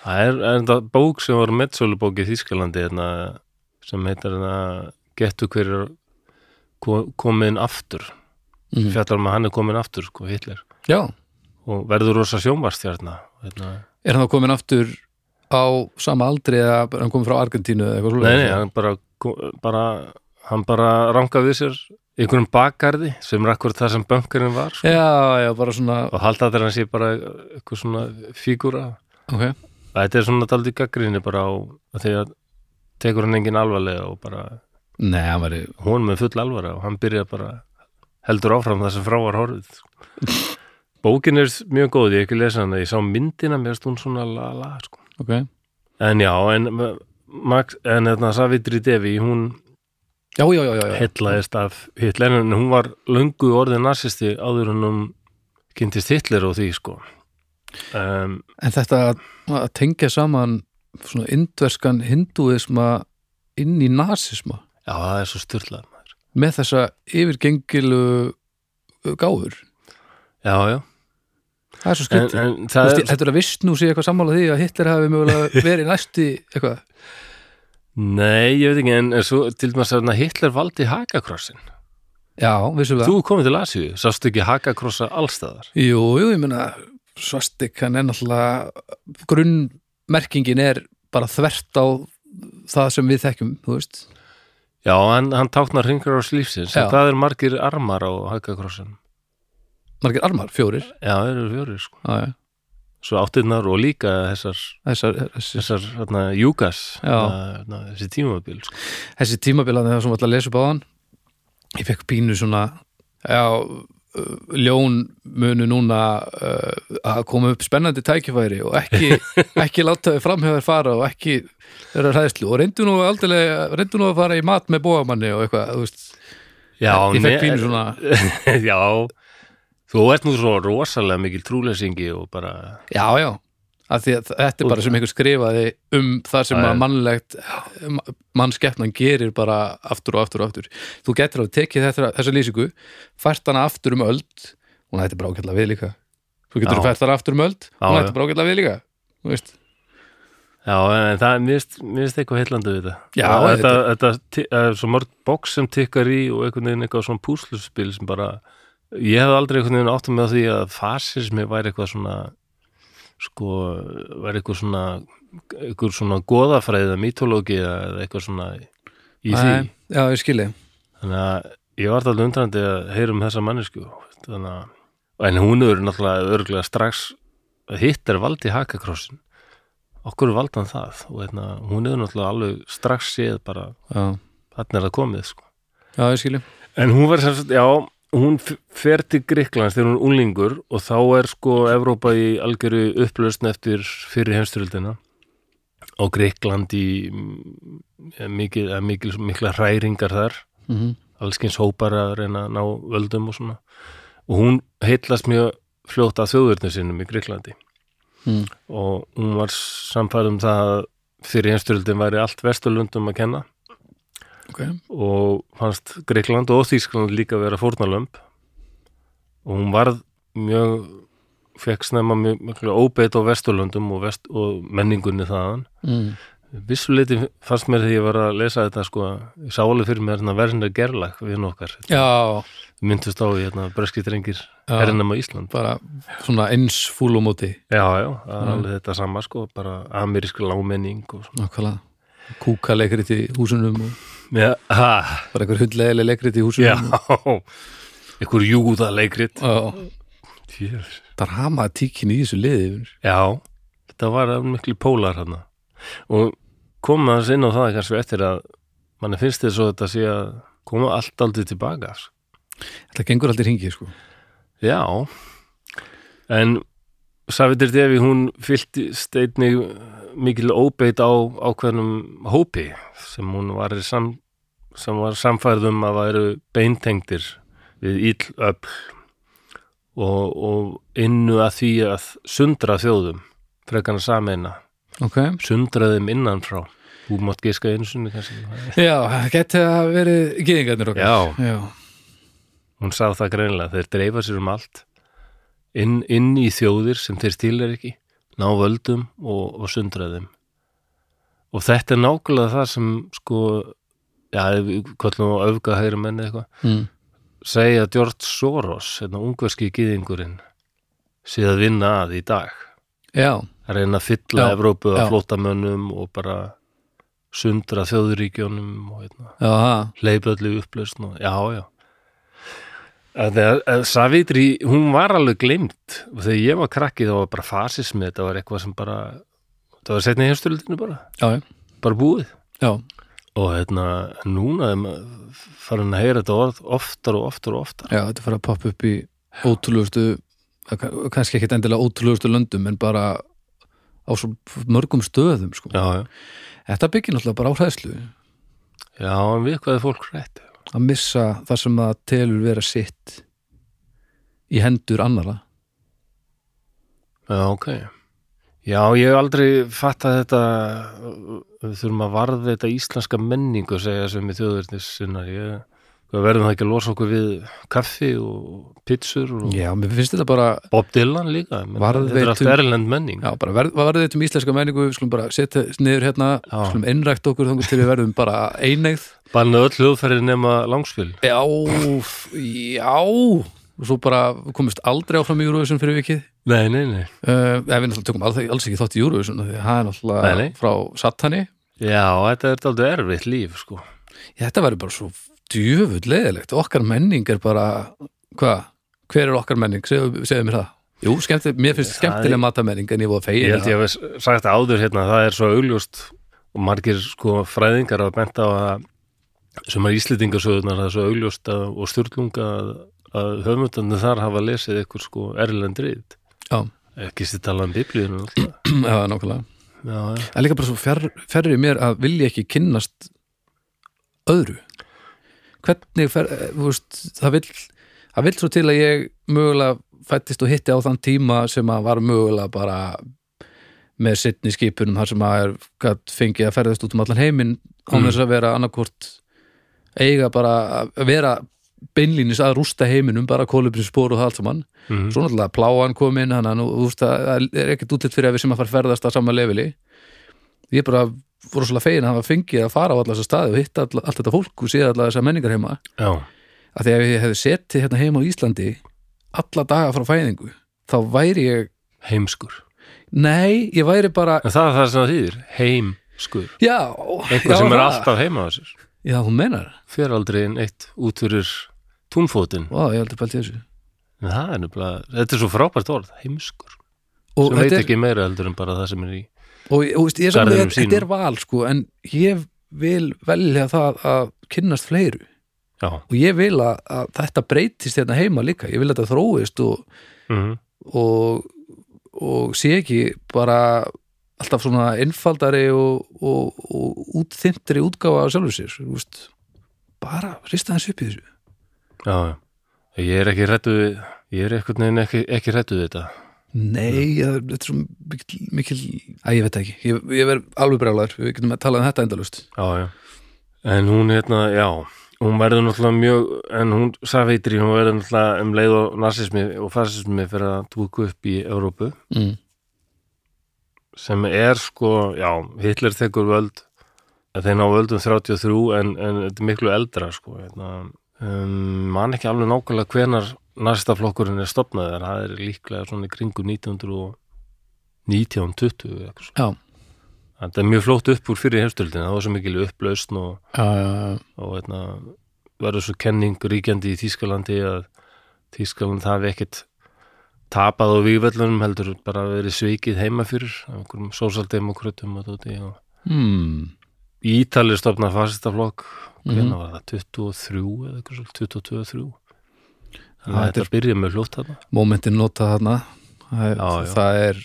[SPEAKER 1] Það er, er þetta bók sem var meðsölubók í Þýskalandi hérna, sem heitar hérna, Gettu hverjur komin aftur
[SPEAKER 2] Mhm.
[SPEAKER 1] fjallar um að hann er komin aftur sko, Hitler
[SPEAKER 2] já,
[SPEAKER 1] og verður rosa sjónvarstjarna hérna.
[SPEAKER 2] er hann þá komin aftur á sama aldri eða er hann komin frá Argentínu eða eitthvað
[SPEAKER 1] Nei,
[SPEAKER 2] svoleiðis?
[SPEAKER 1] nei, hann bara, ko- bara hann bara ranga við sér í einhverjum bakgarði sem er akkur það sem bankarinn var sko,
[SPEAKER 2] já, já, bara svona
[SPEAKER 1] og halda að hann sé bara eitthvað svona fígúra
[SPEAKER 2] ok,
[SPEAKER 1] Þetta er svona daldi gaggrinni bara á að því að tekur hann engin alvarlega og bara
[SPEAKER 2] nei, hann var
[SPEAKER 1] hún með full alvara og hann byrja bara heldur áfram það sem frá var horfið sko. bókin er mjög góð, ég hef ekki lesa hana ég sá myndina, mér erst hún svona la la sko.
[SPEAKER 2] ok,
[SPEAKER 1] en já, en uh, Max, en þetta Savitri Devi hún
[SPEAKER 2] já, já, já, já, já.
[SPEAKER 1] hellaðist af Hitler en hún var löngu orðið nasisti áður en hún kynntist Hitler og því sko um,
[SPEAKER 2] en þetta að- að tengja saman svona indverskan hindúisma inn í nasisma
[SPEAKER 1] já, það er svo styrlað maður.
[SPEAKER 2] með þessa yfirgengilu gáfur
[SPEAKER 1] já, já,
[SPEAKER 2] það er svo
[SPEAKER 1] en,
[SPEAKER 2] skrítið
[SPEAKER 1] en
[SPEAKER 2] Þú
[SPEAKER 1] það
[SPEAKER 2] veist,
[SPEAKER 1] er
[SPEAKER 2] ég heldur að Vistnú sé eitthvað sammála því að Hitler hafi mögulega verið næsti eitthvað.
[SPEAKER 1] nei, ég veit ekki, en, en svo til dæmis að Hitler valdi hakakrossin
[SPEAKER 2] Já, vissum við það.
[SPEAKER 1] Þú komið til Asíu, sástu ekki hakakrossa allstæðar?
[SPEAKER 2] Jú, jú, ég meina svastik, hann er náttúrulega grunnmerkingin er bara þvert á það sem við þekkjum, þú veist.
[SPEAKER 1] Já, hann, hann táknar hringur á slífsins,
[SPEAKER 2] Já.
[SPEAKER 1] en hvað er margir armar á hakakrossin?
[SPEAKER 2] Margir armar, fjórir.
[SPEAKER 1] Já, þeir eru fjórir, sko.
[SPEAKER 2] Já, já.
[SPEAKER 1] Svo áttirnar og líka þessar,
[SPEAKER 2] Þessar, þessi,
[SPEAKER 1] þessar hérna, júkas,
[SPEAKER 2] Já.
[SPEAKER 1] hérna, þessi tímabil, sko.
[SPEAKER 2] þessi tímabilaði það sem var að lesa upp á hann. Ég fekk pínu svona, já, uh, ljón munu núna uh, að koma upp spennandi tækifæri og ekki, ekki láta þau framhjöðar fara og ekki vera hræðslu og reyndu nú aldrei, reyndu nú að fara í mat með bóamanni og eitthvað, þú veist
[SPEAKER 1] Já,
[SPEAKER 2] ég fekk
[SPEAKER 1] ne-
[SPEAKER 2] pínu svona,
[SPEAKER 1] Já, þú ert nú svo rosalega mikil trúleysingi og bara,
[SPEAKER 2] já, já að því að þetta er bara sem einhver skrifaði um það sem
[SPEAKER 1] Það er-
[SPEAKER 2] að mannlegt mannskeppnan gerir bara aftur og aftur og aftur. Þú getur að tekið þetta, þessa lýsingu, fært hana aftur um öld og þetta er bara ágætlega við líka þú getur
[SPEAKER 1] Já.
[SPEAKER 2] fært hana aftur um öld
[SPEAKER 1] Já,
[SPEAKER 2] og
[SPEAKER 1] já.
[SPEAKER 2] þetta er bara ágætlega við líka, þú veist
[SPEAKER 1] já, en það er mist, mist eitthvað heillandi við þetta.
[SPEAKER 2] Já,
[SPEAKER 1] þetta, þetta,
[SPEAKER 2] þetta-
[SPEAKER 1] þetta, ti- það er svo mörg boks sem tikkar í og einhvern veginn eitthvað svona púsluspil sem bara, ég hef aldrei einhvern veginn áttum með því að fasismi væri eitthvað svona, sko, væri eitthvað svona, eitthvað svona goðafræða, mítológi eða eitthvað svona í því.
[SPEAKER 2] Nei, Já, ég skilji
[SPEAKER 1] Þannig að ég var alltaf undrandi að heyra um þessa mannesku. Þannig að, en hún er náttúrulega örglega strax hittar valdi hakakrossin. Okkur valdi hann það og hérna, hún er náttúrulega alveg strax séð bara
[SPEAKER 2] Já,
[SPEAKER 1] hann er að komið sko.
[SPEAKER 2] já ég skilji
[SPEAKER 1] En hún var sem sagt, já, hún f- fer til Gríklands þegar hún er unglingur og þá er sko Evrópa í algjöru upplausn eftir fyrir heimstyrjöldina og Gríkland í mm, mikil, eða mikil, mikla hræringar þar
[SPEAKER 2] mm
[SPEAKER 1] Mhm, allskins hópar að reyna að ná völdum og svona og hún heitlast mjög fljótt að þjóðurnu sinnum í Gríklandi mhm.
[SPEAKER 2] Mm.
[SPEAKER 1] og hún var samfæð um það að fyrir heimstyrjöldin væri allt vesturlundum að kenna
[SPEAKER 2] Ok,
[SPEAKER 1] og fannst Greikland og Þýskland líka vera fórnalömb og hún varð mjög fekk snemma mjög mjög óbeitt á Vesturlöndum og, vest, og menningunni þaðan
[SPEAKER 2] mm.
[SPEAKER 1] vissuleiti fannst mér þegar ég var að lesa þetta sko, ég sá alveg fyrir mér hérna verðinda gerlag við nokkar,
[SPEAKER 2] já,
[SPEAKER 1] myndust á í hérna breski drengir
[SPEAKER 2] Já.
[SPEAKER 1] hernum á Ísland
[SPEAKER 2] bara svona eins fúlumóti
[SPEAKER 1] já, já, það er alveg þetta sama sko bara amerísk lámenning og svona
[SPEAKER 2] Nákvæmlega Kúkaleikriti í húsunum og
[SPEAKER 1] já, ha,
[SPEAKER 2] bara einhver hundlegileg leikriti í
[SPEAKER 1] já
[SPEAKER 2] húsunum
[SPEAKER 1] ykkur júðaleikrit
[SPEAKER 2] og
[SPEAKER 1] Jésus
[SPEAKER 2] drama tíkin í þessu liði vinur.
[SPEAKER 1] Já, þetta var miklu pólar hann og koma þess inn á það kannski eftir að manni finnst þér svo þetta sé að koma allt aldrei tilbaka sko.
[SPEAKER 2] Þetta gengur aldrei hringi sko.
[SPEAKER 1] Já en Savitir Devi hún fyllt steitni mikil óbeitt á ákveðnum hópi sem hún var í sam, sem var samfærðum að væru beintengdir við ill öll og, og innu að því að sundra þjóðum frekarna sameina
[SPEAKER 2] Ok
[SPEAKER 1] sundraðum innanfrá þú mátt giska einu sinni kannski
[SPEAKER 2] Já, það geti að verið gýðingarnir okkar
[SPEAKER 1] já,
[SPEAKER 2] Já,
[SPEAKER 1] hún sá það greinilega þeir dreifa sér um allt inn, inn í þjóðir sem þeir stílar ekki, ná völdum og, og sundraðum. Og þetta er nákvæmlega það sem sko, já, hvernig á öfga hægri menni eitthvað,
[SPEAKER 2] mm.
[SPEAKER 1] segja George Soros, hérna ungverski gýðingurinn, sé að vinna að í dag.
[SPEAKER 2] já,
[SPEAKER 1] Að reyna að fylla
[SPEAKER 2] Já,
[SPEAKER 1] Evrópu
[SPEAKER 2] já.
[SPEAKER 1] að flótamönnum og bara sundra þjóðuríkjónum og hérna,
[SPEAKER 2] já, ha,
[SPEAKER 1] leipöllu upplausn og já, já. Að þegar- að Savitri, hún var alveg glemt og þegar ég var krakki þá var bara fasismi, þetta var eitthvað sem bara, það var setna í hefstöldinu bara,
[SPEAKER 2] já, já,
[SPEAKER 1] bara búið.
[SPEAKER 2] já,
[SPEAKER 1] Og hérna, núna er maður farin að heyra þetta orð oftar og oftar og oftar.
[SPEAKER 2] já, þetta fara að poppa upp í ótrúlegustu, kannski ekkit endilega ótrúlegustu löndum, en bara á svo mörgum stöðum, sko.
[SPEAKER 1] Já, já.
[SPEAKER 2] Þetta byggir náttúrulega bara á hræðslu,
[SPEAKER 1] Já, en við hvað er fólk hrætt?
[SPEAKER 2] að missa það sem það telur vera sitt í hendur annara.
[SPEAKER 1] Já, ok. Já, ég hef aldrei fattað þetta, við þurfum að varða þetta íslenska menningu, segja sem við þjóðverðnis sinnar. Ég, við verðum það ekki að losa okkur við kaffi og pitsur og
[SPEAKER 2] Já, mér finnst þetta bara,
[SPEAKER 1] Bob Dylan líka. Menn, þetta er
[SPEAKER 2] Varðveitum-
[SPEAKER 1] allt erlend menning.
[SPEAKER 2] já, bara verð, var þetta um íslenska menningu, við skulum bara setja niður hérna,
[SPEAKER 1] Já.
[SPEAKER 2] skulum innrækt okkur þangur til við verðum bara einegð.
[SPEAKER 1] Banna öll hljóðferðir nema langspil.
[SPEAKER 2] Já, f- já, og svo bara komist aldrei áfram í Eurovision fyrir vikið.
[SPEAKER 1] Nei, nei, nei.
[SPEAKER 2] Uh, við náttúrulega tökum alls, alls ekki þátt í Eurovision, af því að það er náttúrulega
[SPEAKER 1] Nei, nei.
[SPEAKER 2] frá satani.
[SPEAKER 1] Já, þetta er aldrei erfitt líf, sko.
[SPEAKER 2] Þetta verður bara svo djöfull leðilegt. Okkar menning er bara, hvað? Hver er okkar menning? Segðu, segðu mér það. Jú, skemmti, mér finnst skemmtilega matamenning en ég voru að
[SPEAKER 1] Ég
[SPEAKER 2] fegja
[SPEAKER 1] held ég hef sagt áður hérna, það er svo augljóst og margir sko fræðingar hafa bent á að sem er íslendingasöðunar það er svo augljóst að, og stjórnlunga að, að höfmyndandi þar hafa lesið eitthvað sko erlendrið
[SPEAKER 2] Já,
[SPEAKER 1] ekki sér talað um biblíðinu og alltaf.
[SPEAKER 2] já, nákvæmlega.
[SPEAKER 1] já, já.
[SPEAKER 2] Það er líka bara svo fjarr, fjarrir mér að vilja ekki kynnast öðru hvernig fer, eh, þú veist, það vill það vill svo til að ég mögulega fættist og hitti á þann tíma sem að var mögulega bara með sittni skipunum þar sem að er gat fengið að ferðast út um allan heiminn án
[SPEAKER 1] Mm.
[SPEAKER 2] þess að vera annarkvort eiga bara að vera beinlínis að rústa heiminum bara kólubrins spór og það allt saman
[SPEAKER 1] Mm.
[SPEAKER 2] svo náttúrulega pláan kom inn hann að nú, þú veist að það er ekkert útlitt fyrir að við sem að fara að ferðast að sama leveli ég er bara voru svolítið fegin að hafa fengið að fara á alla þessa staði og hitta all, allt þetta fólk og séð alla þessa menningar heima
[SPEAKER 1] já,
[SPEAKER 2] að því að ef ég hefði setið hérna heima á Íslandi alla daga frá fæðingu þá væri ég,
[SPEAKER 1] heimskur
[SPEAKER 2] nei, ég væri bara
[SPEAKER 1] en það er það sem það þýðir, heimskur
[SPEAKER 2] já,
[SPEAKER 1] eitthvað
[SPEAKER 2] já,
[SPEAKER 1] sem er
[SPEAKER 2] það.
[SPEAKER 1] alltaf heima á þessir
[SPEAKER 2] já, hún meinar,
[SPEAKER 1] fer aldrei inn eitt út fyrir túnfótin
[SPEAKER 2] Vá, ég heldur pælt í þessu
[SPEAKER 1] en það er nefnilega, þetta er svo frábært orð heimskur,
[SPEAKER 2] og,
[SPEAKER 1] sem veit
[SPEAKER 2] þetta er,
[SPEAKER 1] ekki meira heldur en bara það sem er í
[SPEAKER 2] og, og veist, ég samt
[SPEAKER 1] garðinum
[SPEAKER 2] þetta þetta
[SPEAKER 1] sínum.
[SPEAKER 2] er val sko, en ég vil velja það að kynnast fleiru
[SPEAKER 1] já,
[SPEAKER 2] og ég vil að, að þetta breytist hérna heima líka, ég vil að þetta þróist og,
[SPEAKER 1] mhm
[SPEAKER 2] og, og sé ekki bara alltaf svona einfaldari og, og, og útþyntri útgáfa af sjálfur sér, þú veist bara rista þessu upp í þessu
[SPEAKER 1] Já, já. Ég er ekki rættu við, ég er einhvern veginn ekki, ekki rættu við þetta.
[SPEAKER 2] Nei, það er- þetta er svo mikil, mikil að ég veit það ekki, ég, ég verð alveg brjálæður, við getum að tala um þetta endalust
[SPEAKER 1] Já, já. En hún, hérna, já, hún verður náttúrulega mjög, en hún, Savitri, hún verður náttúrulega um leið og narsismi og fasismi fyrir að túku upp í Evrópu,
[SPEAKER 2] mm.
[SPEAKER 1] sem er sko, já, Hitler tekur völd, en þeir ná völdum 33, en, en þetta er miklu eldra, sko, hérna, um, man ekki alveg nákvæmlega hvenar narsistaflokkurinn er stopnað, en það er líklega svona í kringum 1919, 20, eitthvað svo.
[SPEAKER 2] Já,
[SPEAKER 1] Þetta er mjög flótt upp úr fyrir heimstöldin, það var svo mikil upplausn og,
[SPEAKER 2] já, já, já
[SPEAKER 1] og veitna, verður svo kenning ríkjandi í Þýskalandi að Þýskaland hafi ekkit tapað á vývellunum heldur bara verið svikið heima fyrir af einhverjum sósaldemokrutum og tóti og
[SPEAKER 2] hmm.
[SPEAKER 1] Ítalir stofna fasistaflokk
[SPEAKER 2] Mhm.
[SPEAKER 1] hvernig var það, 23 eða eitthvað svo, 22-3 þannig
[SPEAKER 2] Já,
[SPEAKER 1] að
[SPEAKER 2] þetta
[SPEAKER 1] þetta byrja með flótt þarna
[SPEAKER 2] Momentin nota þarna það
[SPEAKER 1] Já,
[SPEAKER 2] er,
[SPEAKER 1] já.
[SPEAKER 2] Það er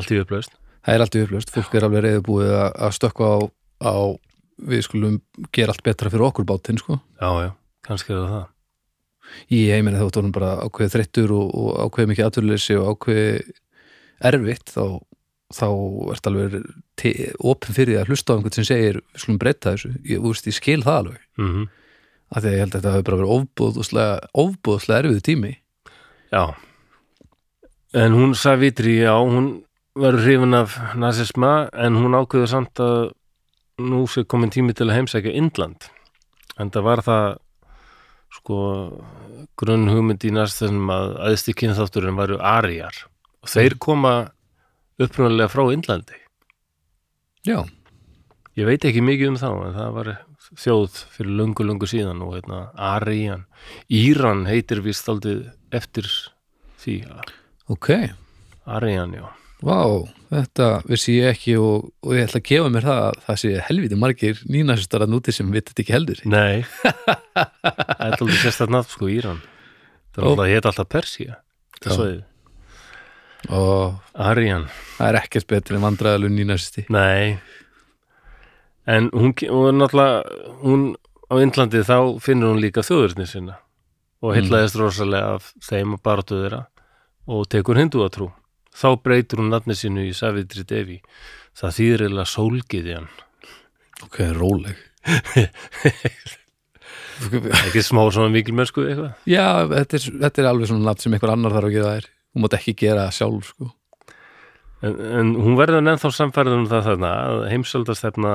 [SPEAKER 1] allt í upplausn
[SPEAKER 2] það er alltaf upplöst, fólk er alveg reyðbúið að að stökkva á, á við skulum gera allt betra fyrir okkur bátinn sko.
[SPEAKER 1] Já, já, kannski er það það
[SPEAKER 2] ég meina þegar þú erum bara ákveðið þreyttur og, og ákveðið mikið aturleysi og ákveðið erfitt þá, þá ert alveg te- opin fyrir því að hlusta á einhvern sem segir við skulum breyta þessu, ég, þú veist, ég skil það alveg
[SPEAKER 1] mm
[SPEAKER 2] af því að ég held að þetta hafi bara verið ofbúðslega, ofbúðslega erfiðu tími
[SPEAKER 1] Já, en hún Savitri, já, hún var hrifin af nazisma en hún ákveður samt að nú sé komin tími til að heimsækja Indland en það var það sko grunn hugmynd í nazism að aðstu kynþátturinn varu arijar og þeir koma upprunalega frá Indlandi
[SPEAKER 2] Já,
[SPEAKER 1] Ég veit ekki mikið um þá, en það var þjóð fyrir lungu, lungu síðan og hérna, Arian. Íran heitir vist aldrei eftir því,
[SPEAKER 2] ok
[SPEAKER 1] Arian, já.
[SPEAKER 2] Vá, þetta vissi ég ekki og, og ég ætla að gefa mér það að það sé helviti margir nýnasistar að núti sem við þetta ekki heldur
[SPEAKER 1] Nei, það er aldrei sérstætt nafn, sko, Íran. Það er
[SPEAKER 2] Ó.
[SPEAKER 1] alltaf, það heit alltaf Persía,
[SPEAKER 2] Já.
[SPEAKER 1] þetta svoðið.
[SPEAKER 2] og
[SPEAKER 1] Arian,
[SPEAKER 2] það er ekkert betur en vandræðalum nýnasisti
[SPEAKER 1] nei. En hún, ke- og náttúrulega, hún á Indlandi þá finnur hún líka þjóðurni sinna og hellaðist rosalega af þeim og baráttu þeirra og tekur hinduatrú. Þá breytir hún nafni sínu í Savitri Devi. Það þýðir eða sólgiðjan.
[SPEAKER 2] Ok, róleg
[SPEAKER 1] Ekki smá svona mikilmennsku eitthvað.
[SPEAKER 2] Já, þetta er, þetta er alveg svona nafn sem einhver annar þarf að gefa þær Hún mátt ekki gera það sjálf sko.
[SPEAKER 1] En, en hún verður ennþá samfærður um það þarna að heimsaldastefna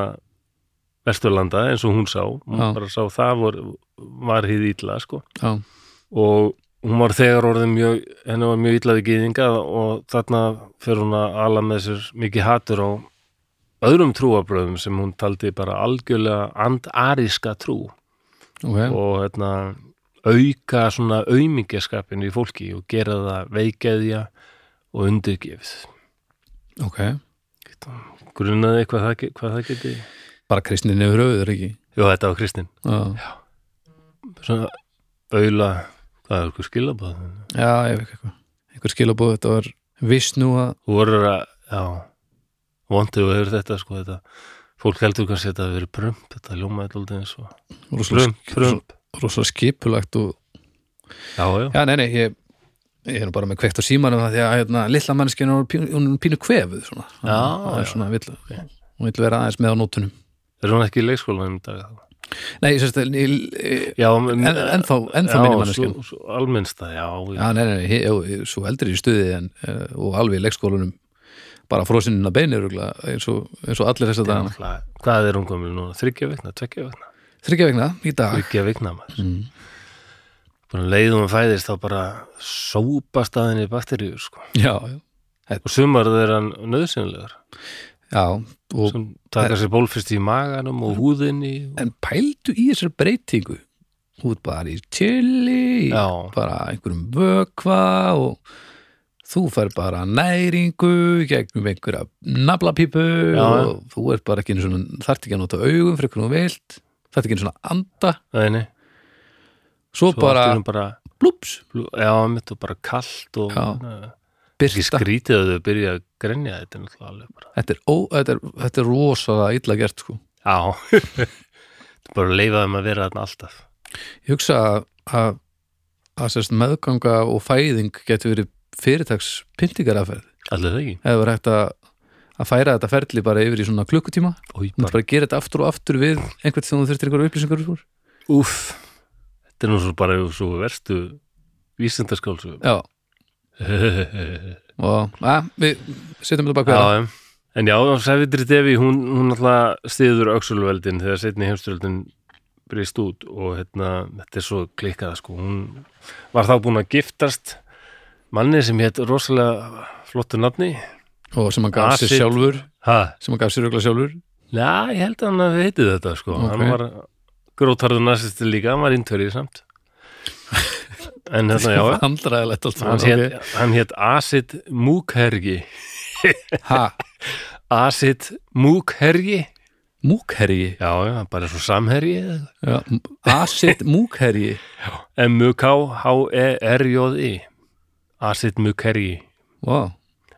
[SPEAKER 1] Vesturlanda eins og hún sá. Hún
[SPEAKER 2] Já.
[SPEAKER 1] bara sá það var, var hýð ítla sko.
[SPEAKER 2] Já,
[SPEAKER 1] og hún var þegar orðin mjög, henni var mjög illaði gýðinga og þarna fyrir hún að ala með sér mikið hatur á öðrum trúabröðum sem hún taldi bara algjörlega andaríska trú
[SPEAKER 2] ok
[SPEAKER 1] og hérna, auka svona aumingjaskapinu í fólki og gera það veikeðja og undirgefið
[SPEAKER 2] Ok,
[SPEAKER 1] grunaði hvað það, ge- hvað það geti
[SPEAKER 2] bara kristnin yfir höfuður ekki
[SPEAKER 1] Jó, þetta var Kristinn
[SPEAKER 2] Já,
[SPEAKER 1] svona auðla, hvað er okkur skilabóð
[SPEAKER 2] já ég veit ekki eitthvað Einhver skilabóð, þetta var Vishnu að
[SPEAKER 1] Þú voru að, já, vondið og hefur þetta, sko, þetta, fólk heldur kannski að þetta hafi verið prump, þetta ljómaði alltaf eins og,
[SPEAKER 2] rosalega
[SPEAKER 1] prump, prump,
[SPEAKER 2] rosa skipulagt og
[SPEAKER 1] já, já,
[SPEAKER 2] Já, nei, nei, ég, ég er nú bara með kveikt á símanum það því að hérna, litla mannskinn hún er pínu- hún er pínu kvefuð svona.
[SPEAKER 1] Já,
[SPEAKER 2] Það er
[SPEAKER 1] já.
[SPEAKER 2] svona, vill, hún vil vera aðeins með á nótunum
[SPEAKER 1] er hún ekki í leikskólanum í dag þá?
[SPEAKER 2] Nei, ég sérst, en, en,
[SPEAKER 1] Já, en,
[SPEAKER 2] ennþá, ennþá minni mannskinn
[SPEAKER 1] svo, svo almennsta, já, já,
[SPEAKER 2] Já, nei, nei, nei, ég, ég, svo eldri í stuði en, eh, og alveg í leikskólanum bara frósinina beinir eins og, eins og allir þess að dagana
[SPEAKER 1] já, hvað er hún komil núna, þryggja vikna, tveggja vikna,
[SPEAKER 2] Þryggja vegna í dag
[SPEAKER 1] þryggja vikna maður,
[SPEAKER 2] mm.
[SPEAKER 1] bara um leið hún fæðist þá bara sópast að henni bakteríur, sko,
[SPEAKER 2] Já, já,
[SPEAKER 1] og sumar þeirra nöðsynlegar,
[SPEAKER 2] já og,
[SPEAKER 1] sem taka sér bólfyrst í maganum og húðinni, og,
[SPEAKER 2] en pældu í þessari breytingu út bara í chili í
[SPEAKER 1] já,
[SPEAKER 2] bara einhverjum vökva og þú fær bara næringu gegnum einhverja nablapípu
[SPEAKER 1] Já, já.
[SPEAKER 2] og þú ert bara ekki einu svona, þarft ekki að nota augum fyrir hvernig þú vilt þarft ekki einu svona að anda
[SPEAKER 1] neini,
[SPEAKER 2] svo,
[SPEAKER 1] svo
[SPEAKER 2] bara,
[SPEAKER 1] allt er hún bara
[SPEAKER 2] blúps,
[SPEAKER 1] Blú- Já, mitt og bara kallt og
[SPEAKER 2] Já.
[SPEAKER 1] Nei, ekki
[SPEAKER 2] byrsta
[SPEAKER 1] skrítið að þau byrja að grenja þetta er náttúrulega alveg bara.
[SPEAKER 2] þetta er, ó, þetta, er, þetta er rosalega illa gert sko.
[SPEAKER 1] Já, Þetta er bara að leifa þeim að vera þarna alltaf.
[SPEAKER 2] ég hugsa að, að, að sérst, meðganga og fæðing getur verið fyrirtags pyntingaraferð
[SPEAKER 1] Allir það ekki.
[SPEAKER 2] eða verið hægt að, að færa þetta ferli bara yfir í svona klukkutíma
[SPEAKER 1] Új,
[SPEAKER 2] þú mátt
[SPEAKER 1] bara,
[SPEAKER 2] bara gera þetta aftur og aftur við einhvern sem þú þurftir einhverja upplýsingar úr
[SPEAKER 1] úff, þetta er nú svo bara svo verstu vísindaskálsugum.
[SPEAKER 2] já,
[SPEAKER 1] já,
[SPEAKER 2] og að, við setjum þetta baka
[SPEAKER 1] em. en já, Savitri Devi, hún, hún alltaf stiður öxulveldin þegar setni heimsturöldin brist út og hérna, þetta er svo klikkað sko, hún var þá búin að giftast manni sem hétt rosalega flottu nafni
[SPEAKER 2] og sem hann gaf sér
[SPEAKER 1] Acid.
[SPEAKER 2] sjálfur
[SPEAKER 1] Hæ?
[SPEAKER 2] sem hann gaf sér ögla sjálfur
[SPEAKER 1] Já, ég held að hann að heiti þetta sko
[SPEAKER 2] Ok.
[SPEAKER 1] Hann var grótarður nasisti líka Hann var inntverið samt En hérna, já
[SPEAKER 2] handræðilegt allt
[SPEAKER 1] Hann
[SPEAKER 2] saman,
[SPEAKER 1] hét, hann hét Asit Múkherji
[SPEAKER 2] ok. ha,
[SPEAKER 1] Asit Múkherji
[SPEAKER 2] múkherji
[SPEAKER 1] Já, já, bara svo samherji eða eitthvað.
[SPEAKER 2] Já, m- acid múkherji
[SPEAKER 1] E M-U-K-H-E-R-J-I Asit Múkherji
[SPEAKER 2] wow,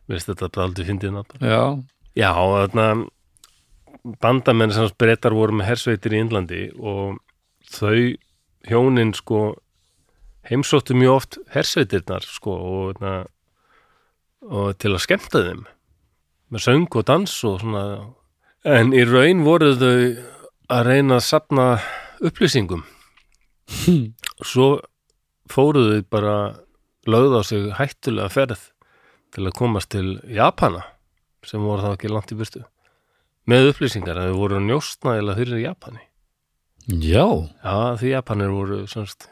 [SPEAKER 1] Veist E, þetta bara aldrei fyndið nátt
[SPEAKER 2] já,
[SPEAKER 1] Já, þarna bandamenn sem breytar voru með hersveitir í Indlandi og þau hjónin sko heimsóttu mjög oft hersveitirnar sko og, þarna, og til að skemmta þeim með söng og dans og svona en í raun voru þau að reyna að sapna upplýsingum
[SPEAKER 2] Hm.
[SPEAKER 1] svo fóruðu bara lögð á sig hættulega ferð til að komast til Japana sem voru þá ekki langt í burtu með upplýsingar að þau voru njóstnægilega fyrir Japani
[SPEAKER 2] Já,
[SPEAKER 1] Já, því Japanir voru semst,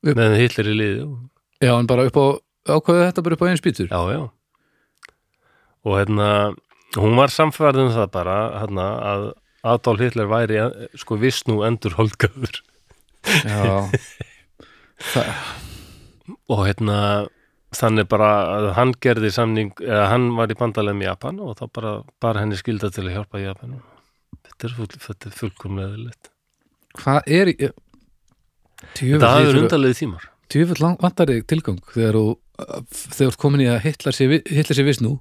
[SPEAKER 2] Upp-
[SPEAKER 1] með hillir í liði og
[SPEAKER 2] já, en bara upp á ákveðu þetta bara upp á einn spýtur
[SPEAKER 1] Já, já. Og hérna, hún var samfærð um það bara, hérna, að Adolf Hitler væri, eh, sko, viss nú endur holdgöfur.
[SPEAKER 2] Já,
[SPEAKER 1] Og hérna, þannig bara að hann gerði samning, eða hann var í bandalegum í Japan og þá bara, bara henni skilda til að hjálpa Japanum. Þetta er, full, þetta er fullkomlega leitt.
[SPEAKER 2] hvað er í- Djöfull,
[SPEAKER 1] Það er
[SPEAKER 2] ég þurfa-
[SPEAKER 1] undarlegið tímar.
[SPEAKER 2] Tjöfull lang- vantar þig tilgang þegar þú þegar þú ert komin í að hitla sér, hitla sér viss nú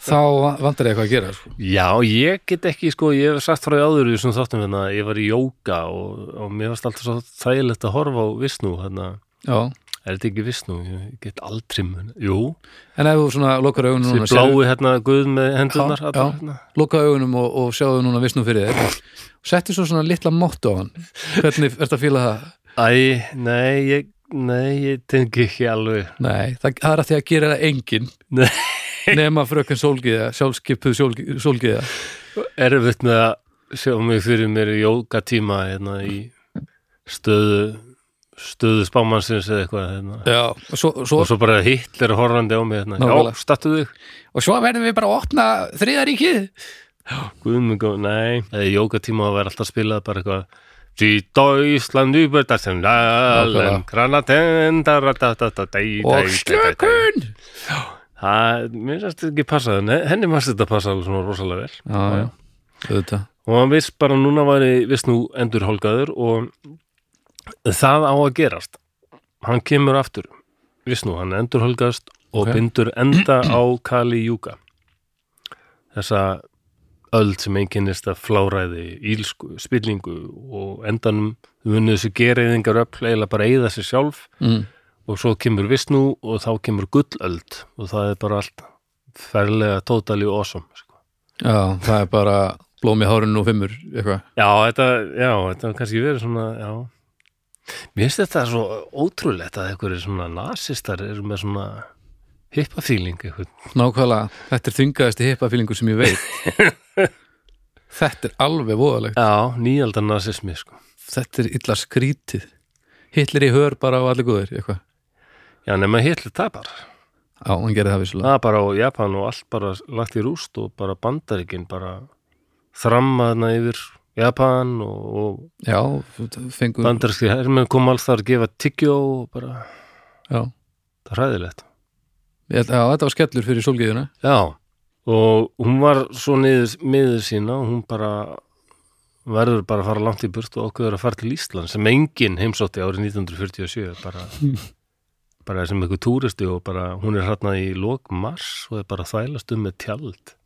[SPEAKER 2] þá vantar þig eitthvað að gera sko.
[SPEAKER 1] Já, ég get ekki, sko, ég hef sagt frá því áður í þessum þáttum hérna, ég var í jóka og, og mér varst alltaf svo þægilegt að horfa á Visnú, hérna,
[SPEAKER 2] Já.
[SPEAKER 1] Er þetta ekki viss nú? Ég get aldrei mun. Jú,
[SPEAKER 2] en ef þú svona lokar augunum
[SPEAKER 1] því
[SPEAKER 2] núna, sér,
[SPEAKER 1] blái hérna guð með hendurnar.
[SPEAKER 2] Já,
[SPEAKER 1] Já,
[SPEAKER 2] já.
[SPEAKER 1] Hérna.
[SPEAKER 2] lokar augunum og, og sjáðu núna viss nú fyrir þér og settu svo svona litla mótt á hann hvernig ert að fíla það?
[SPEAKER 1] Æ, nei, ég, nei, ég tengi ekki alveg.
[SPEAKER 2] Nei, það, það er að því að gera það engin
[SPEAKER 1] Nei.
[SPEAKER 2] nema fröken sólgiða, sjálfskipuð sólgi- sólgiða
[SPEAKER 1] Erfitt með að sjá mig fyrir mér í jókatíma hérna í stöðu, stöðu spámannsins eða eitthvað hérna.
[SPEAKER 2] Já, og svo, svo,
[SPEAKER 1] Og svo bara Hitler horfandi á mig hérna. Já,
[SPEAKER 2] Nákvæmlega.
[SPEAKER 1] stattu þig.
[SPEAKER 2] og svo verðum við bara að opna þriðaríkið
[SPEAKER 1] Guðmengum, nei, eða í jókatíma að vera alltaf spilað bara eitthvað Sýta Ísland ubyrta sem lalem
[SPEAKER 2] Nákvæmlega.
[SPEAKER 1] granatenda ratatata-
[SPEAKER 2] og slökun
[SPEAKER 1] Það, mér finnst þetta ekki passa henni fannst þetta passa alveg svona rosalega vel
[SPEAKER 2] Já, já, auðvitað
[SPEAKER 1] og hann viss bara núna væri viss nú endur hálkaður og það á að gerast hann kemur aftur viss nú, hann endur hálkaðast og
[SPEAKER 2] Ok.
[SPEAKER 1] bindur enda á Kali Júka þessa öld sem einkennist að fláræði ílsku, spillingu og endanum vunnið þessu gereiðingar öll eiginlega bara eigða sér sjálf
[SPEAKER 2] mm.
[SPEAKER 1] og svo kemur Visnú og þá kemur Gullöld og það er bara allt ferlega totally awesome sko.
[SPEAKER 2] Já, það er bara blóm í hárun og fimmur eitthvað.
[SPEAKER 1] já, þetta, já, þetta er kannski verið svona já. mér finnst þetta svo ótrúlegt að einhverjir svona nasistar eru með svona hippafíling einhvern
[SPEAKER 2] Nákvæmlega, þetta er þvingaðasti hippafílingur sem ég veit Þetta er alveg voðalegt
[SPEAKER 1] já, nýjaldar nasismi sko.
[SPEAKER 2] Þetta er illa skrítið Hitler í hör bara á allir góðir eitthvað.
[SPEAKER 1] já, nema hitlu tapar
[SPEAKER 2] Já, hann gerði það vissulega
[SPEAKER 1] það er bara á Japan og allt bara lagt í rúst og bara bandaríkin bara þrammaðna yfir Japan og, og
[SPEAKER 2] Já, fengur
[SPEAKER 1] bandaríski hermenn kom alls þar að gefa tyggjó og bara,
[SPEAKER 2] já.
[SPEAKER 1] það er hræðilegt
[SPEAKER 2] Ég held- já, þetta var skellur fyrir sólgiðuna
[SPEAKER 1] Já, og hún var svo niður miður sína og hún bara verður bara að fara langt í burt og ákveður að fara til Ísland sem enginn heimsótti árið 1947 bara, bara sem eitthvað túristi og bara hún er hratnað í lok mars og er bara að þvælast um með tjald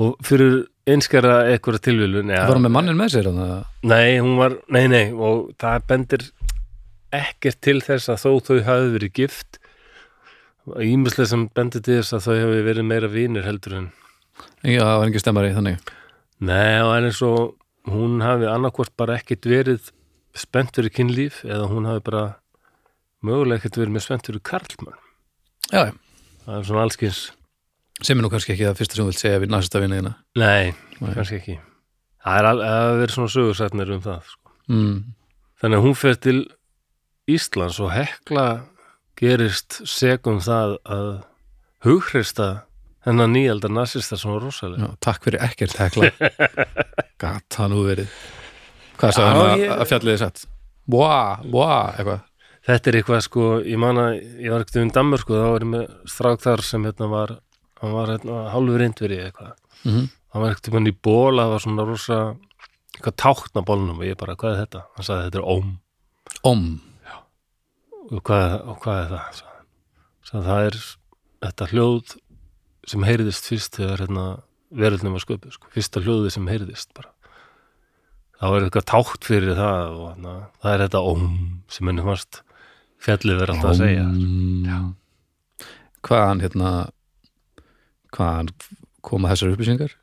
[SPEAKER 1] og fyrir einskjara eitthvað tilvílun
[SPEAKER 2] Það var hann með mannin með sér hann
[SPEAKER 1] Nei, hún var, nei, nei og það bendir ekkert til þess að þó þau hafi verið gift ímislega sem bendir til þess að þau hafi verið meira vinir heldur en
[SPEAKER 2] Já, það var engin stemmari, þannig
[SPEAKER 1] Nei, og en eins og hún hafi annarkvort bara ekkert verið spennt fyrir kynlíf eða hún hafi bara mögulega ekkert verið með spennt fyrir karlmann
[SPEAKER 2] Já, já,
[SPEAKER 1] það er svona allskins
[SPEAKER 2] sem er nú kannski ekki það fyrsta sem þú vilt segja við næsta vinniðina
[SPEAKER 1] Nei,
[SPEAKER 2] Nei.
[SPEAKER 1] kannski ekki Það er al- það hafa verið svona sögursætnir um það sko.
[SPEAKER 2] mm.
[SPEAKER 1] Þannig að hún fer til Íslands og hekla gerist segum það að hughrista hennar nýjaldar nasista sem var rosalega.
[SPEAKER 2] Já, takk fyrir ekkert hekla Gat það nú verið Hvað sagði
[SPEAKER 1] Já,
[SPEAKER 2] hann að,
[SPEAKER 1] ég-
[SPEAKER 2] að fjallið er satt? Vá, vá, eitthvað
[SPEAKER 1] Þetta er eitthvað sko, ég man að ég var ekkert um Danmörku þá var ég með strák þar sem hérna var, hann var hérna hálfur reyndveri eitthvað.
[SPEAKER 2] mm
[SPEAKER 1] Hann var ekkert um hann í ból, það var svona rosa, eitthvað tákn á bólnum og ég bara, hvað er þetta? Hann sagði þetta er óm.
[SPEAKER 2] Om,
[SPEAKER 1] og hvað, og hvað er það sagði hann. Sagði, það er þetta hljóð sem heyrðist fyrst þegar hérna, veröldnum var sköpuð sko. fyrsta hljóði sem heyrðist bara. þá er eitthvað tákt fyrir það og hana, það er þetta óm sem henni fannst fjallið verið alltaf að segja
[SPEAKER 2] Om Hvaðan hérna Hvaðan koma þessar upplýsingar?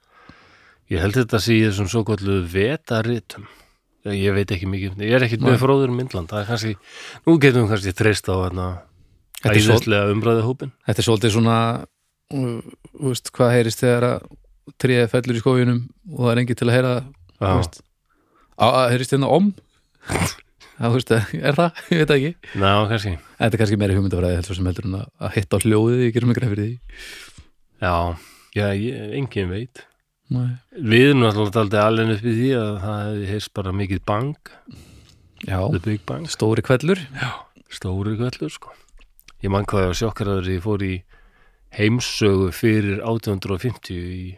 [SPEAKER 1] ég held þetta sé ég sem svo kallu vetaritum ég ég veit ekki mikið, um þetta. ég er ekki
[SPEAKER 2] Nei.
[SPEAKER 1] með fróður um Indland, það er kannski nú getum við kannski treyst á hana,
[SPEAKER 2] Þetta er, svol,
[SPEAKER 1] æðislega umræðahópin
[SPEAKER 2] þetta er svolítið svona uh, þú veist, hvað heyrist þegar að tríða fellur í skóginum og það er engi til að heyra það
[SPEAKER 1] Já.
[SPEAKER 2] þú veist. Á- á- heyrist hérna om Já, þú veist, er það, ég veit það ekki
[SPEAKER 1] Ná, kannski
[SPEAKER 2] En Þetta er kannski meira hugmyndafræði heldur sem heldur en að- að hitta á hljóðið ég gerum ekki fyrir því
[SPEAKER 1] Já, já, ég, engin veit
[SPEAKER 2] Nei.
[SPEAKER 1] Við erum náttúrulega aldrei alveg upp í því að það hefði heyrst bara mikið bang
[SPEAKER 2] Já,
[SPEAKER 1] The Big Bang,
[SPEAKER 2] stóri kvellur
[SPEAKER 1] stóri kvöllur sko. Ég mann hvað ég var sjokkaraður ég fór í heimsögu fyrir 1850 í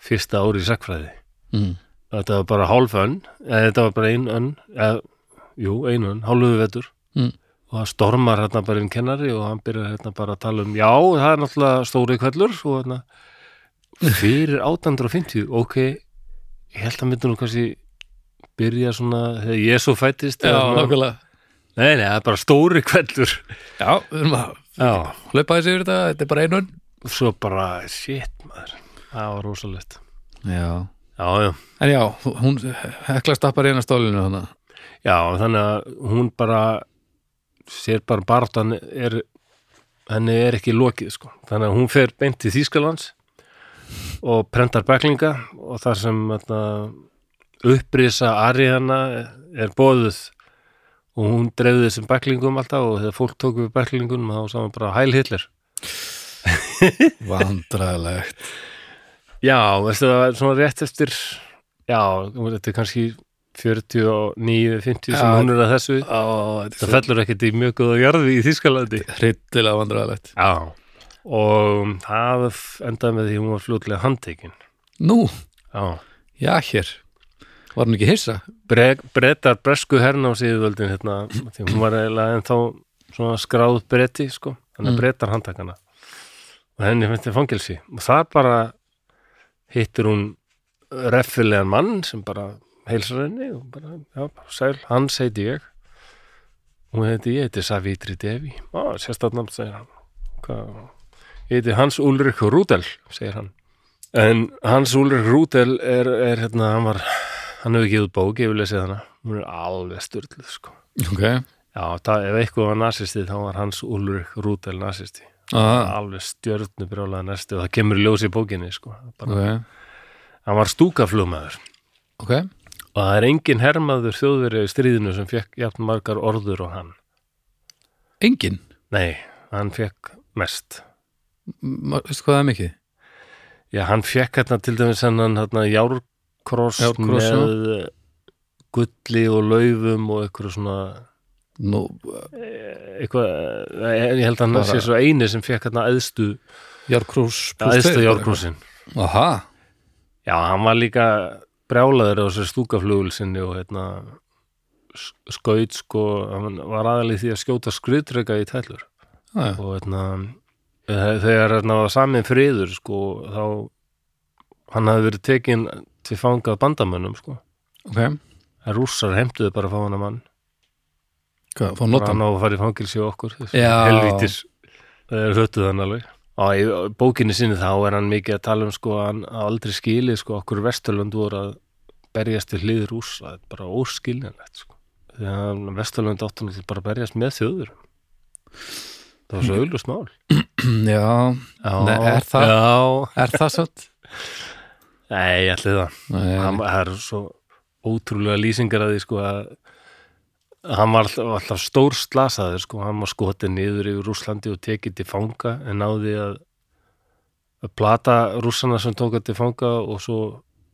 [SPEAKER 1] fyrsta ári í sakfræði
[SPEAKER 2] mm.
[SPEAKER 1] Þetta var bara hálf önn eða þetta var bara ein önn eða, jú, ein önn, hálfuðu vetur
[SPEAKER 2] Mm.
[SPEAKER 1] og það stormar hérna bara einn kennari og hann byrjar hérna bara að tala um já, það er náttúrulega stóri kvellur og hérna fyrir 1850 ok, ég held að myndi nú kannski byrja svona þegar Jésu fættist
[SPEAKER 2] Já,
[SPEAKER 1] eða svona,
[SPEAKER 2] nákvæmlega
[SPEAKER 1] nei, nei, það er bara stóri kvellur
[SPEAKER 2] Já, við erum að
[SPEAKER 1] já,
[SPEAKER 2] hlaupa þessi yfir þetta, þetta er bara einun
[SPEAKER 1] svo bara shit maður, það var rosalegt
[SPEAKER 2] Já
[SPEAKER 1] já, já
[SPEAKER 2] En já, hún hekla stappar í eina stólinu hana.
[SPEAKER 1] Já, þannig að hún bara sér bara barðan er henni er ekki lokið sko. þannig að hún fer beint til Þýskalands og prentar bæklinga og þar sem þetta, upprisa ariðana er bóðuð og hún dreifði þessum bæklingum alltaf og þegar fólk tók við bæklingunum þá sá hann bara hæl Hitler
[SPEAKER 2] Vandræðilegt
[SPEAKER 1] Já, veistu það var svona rétt eftir já, þetta er kannski 49-50 sem
[SPEAKER 2] Já.
[SPEAKER 1] hún er að þessu það fellur ekkert í mjög góða jarði í Þýskalandi
[SPEAKER 2] Hryllilega vandræðilegt
[SPEAKER 1] Já Og það endaði með því að hún var fljótlega handtekin
[SPEAKER 2] Nú,
[SPEAKER 1] Já
[SPEAKER 2] já hér Var hún ekki hissa?
[SPEAKER 1] Bre Bretar bresku herna á síðvöldin hérna, því hún var eiginlega ennþá svona skráð bretti sko þannig að
[SPEAKER 2] Mm.
[SPEAKER 1] bretar handtakana og henni finnst þið fangelsi og þar bara hittir hún reffilegan mann sem bara heilsar henni og bara, já, sæl, hans heiti ég hún heiti, ég heiti Savitri Devi á, sérstatnamn, segir hann hvað, ég heiti Hans Ulrik Rúdel segir hann en Hans Ulrik Rúdel er, er hérna, hann var hann hefur ekki út bók, ég vil lesið hana hún er alveg styrluð sko
[SPEAKER 2] Ok
[SPEAKER 1] já, það, ef eitthvað var nasisti þá var hans Ulrik Rúdel nasisti
[SPEAKER 2] ah,
[SPEAKER 1] alveg stjörnubrálega næsti og það kemur í ljós í bókinni sko Bara,
[SPEAKER 2] Ok,
[SPEAKER 1] hann var stúkaflugmaður
[SPEAKER 2] ok
[SPEAKER 1] og það er engin hermaður þjóðverið í stríðinu sem fekk jafn margar orður og hann
[SPEAKER 2] Engin,
[SPEAKER 1] nei, hann fekk mest
[SPEAKER 2] M- veistu hvað það er mikið?
[SPEAKER 1] já, hann fekk hérna til dæmis hennan hérna járkross
[SPEAKER 2] Járnkross,
[SPEAKER 1] með eh, gulli og laufum og eitthvað svona
[SPEAKER 2] Nú,
[SPEAKER 1] eitthvað, eh, ég held að hann
[SPEAKER 2] Bara-
[SPEAKER 1] sé svo eini sem fekk hérna æðstu,
[SPEAKER 2] Járkrús
[SPEAKER 1] æðstu járkrossin
[SPEAKER 2] Aha,
[SPEAKER 1] Já, hann var líka brjálaður á þessu stúkaflugul sinni og hérna s- skaut sko, hann var aðalið því að skjóta skriðtreka í tællur
[SPEAKER 2] já, já.
[SPEAKER 1] og hérna eh, þegar hérna var samin friður sko, þá hann hafði verið tekin til fangað bandamönnum sko,
[SPEAKER 2] ok
[SPEAKER 1] en rússar heimtuðu bara að fá hann að mann,
[SPEAKER 2] Hvað, fór
[SPEAKER 1] bara
[SPEAKER 2] notan?
[SPEAKER 1] hann á að fara í fangilsi og okkur, þessi
[SPEAKER 2] Já.
[SPEAKER 1] helvítis þegar höttuðu hann alveg og í bókinni sinni þá er hann mikið að tala um sko, að hann aldrei skilið sko, okkur Vesturlönd voru að berjast við hlið rússa, það er bara óskiljanlegt sko. þegar Vesturlönd áttu náttúrulega bara að berjast með þjóður það var svo auðlust mál
[SPEAKER 2] Já,
[SPEAKER 1] Já,
[SPEAKER 2] Nei, er það-
[SPEAKER 1] Já,
[SPEAKER 2] er það satt?
[SPEAKER 1] nei, ég ætli það
[SPEAKER 2] Nei,
[SPEAKER 1] hann, Það er svo ótrúlega lýsingar að því sko að hann var alltaf, alltaf stór slasaður sko, hann var skotið niður yfir Rússlandi og tekið til fanga en náði að, að plata rússana sem tóka til fanga og svo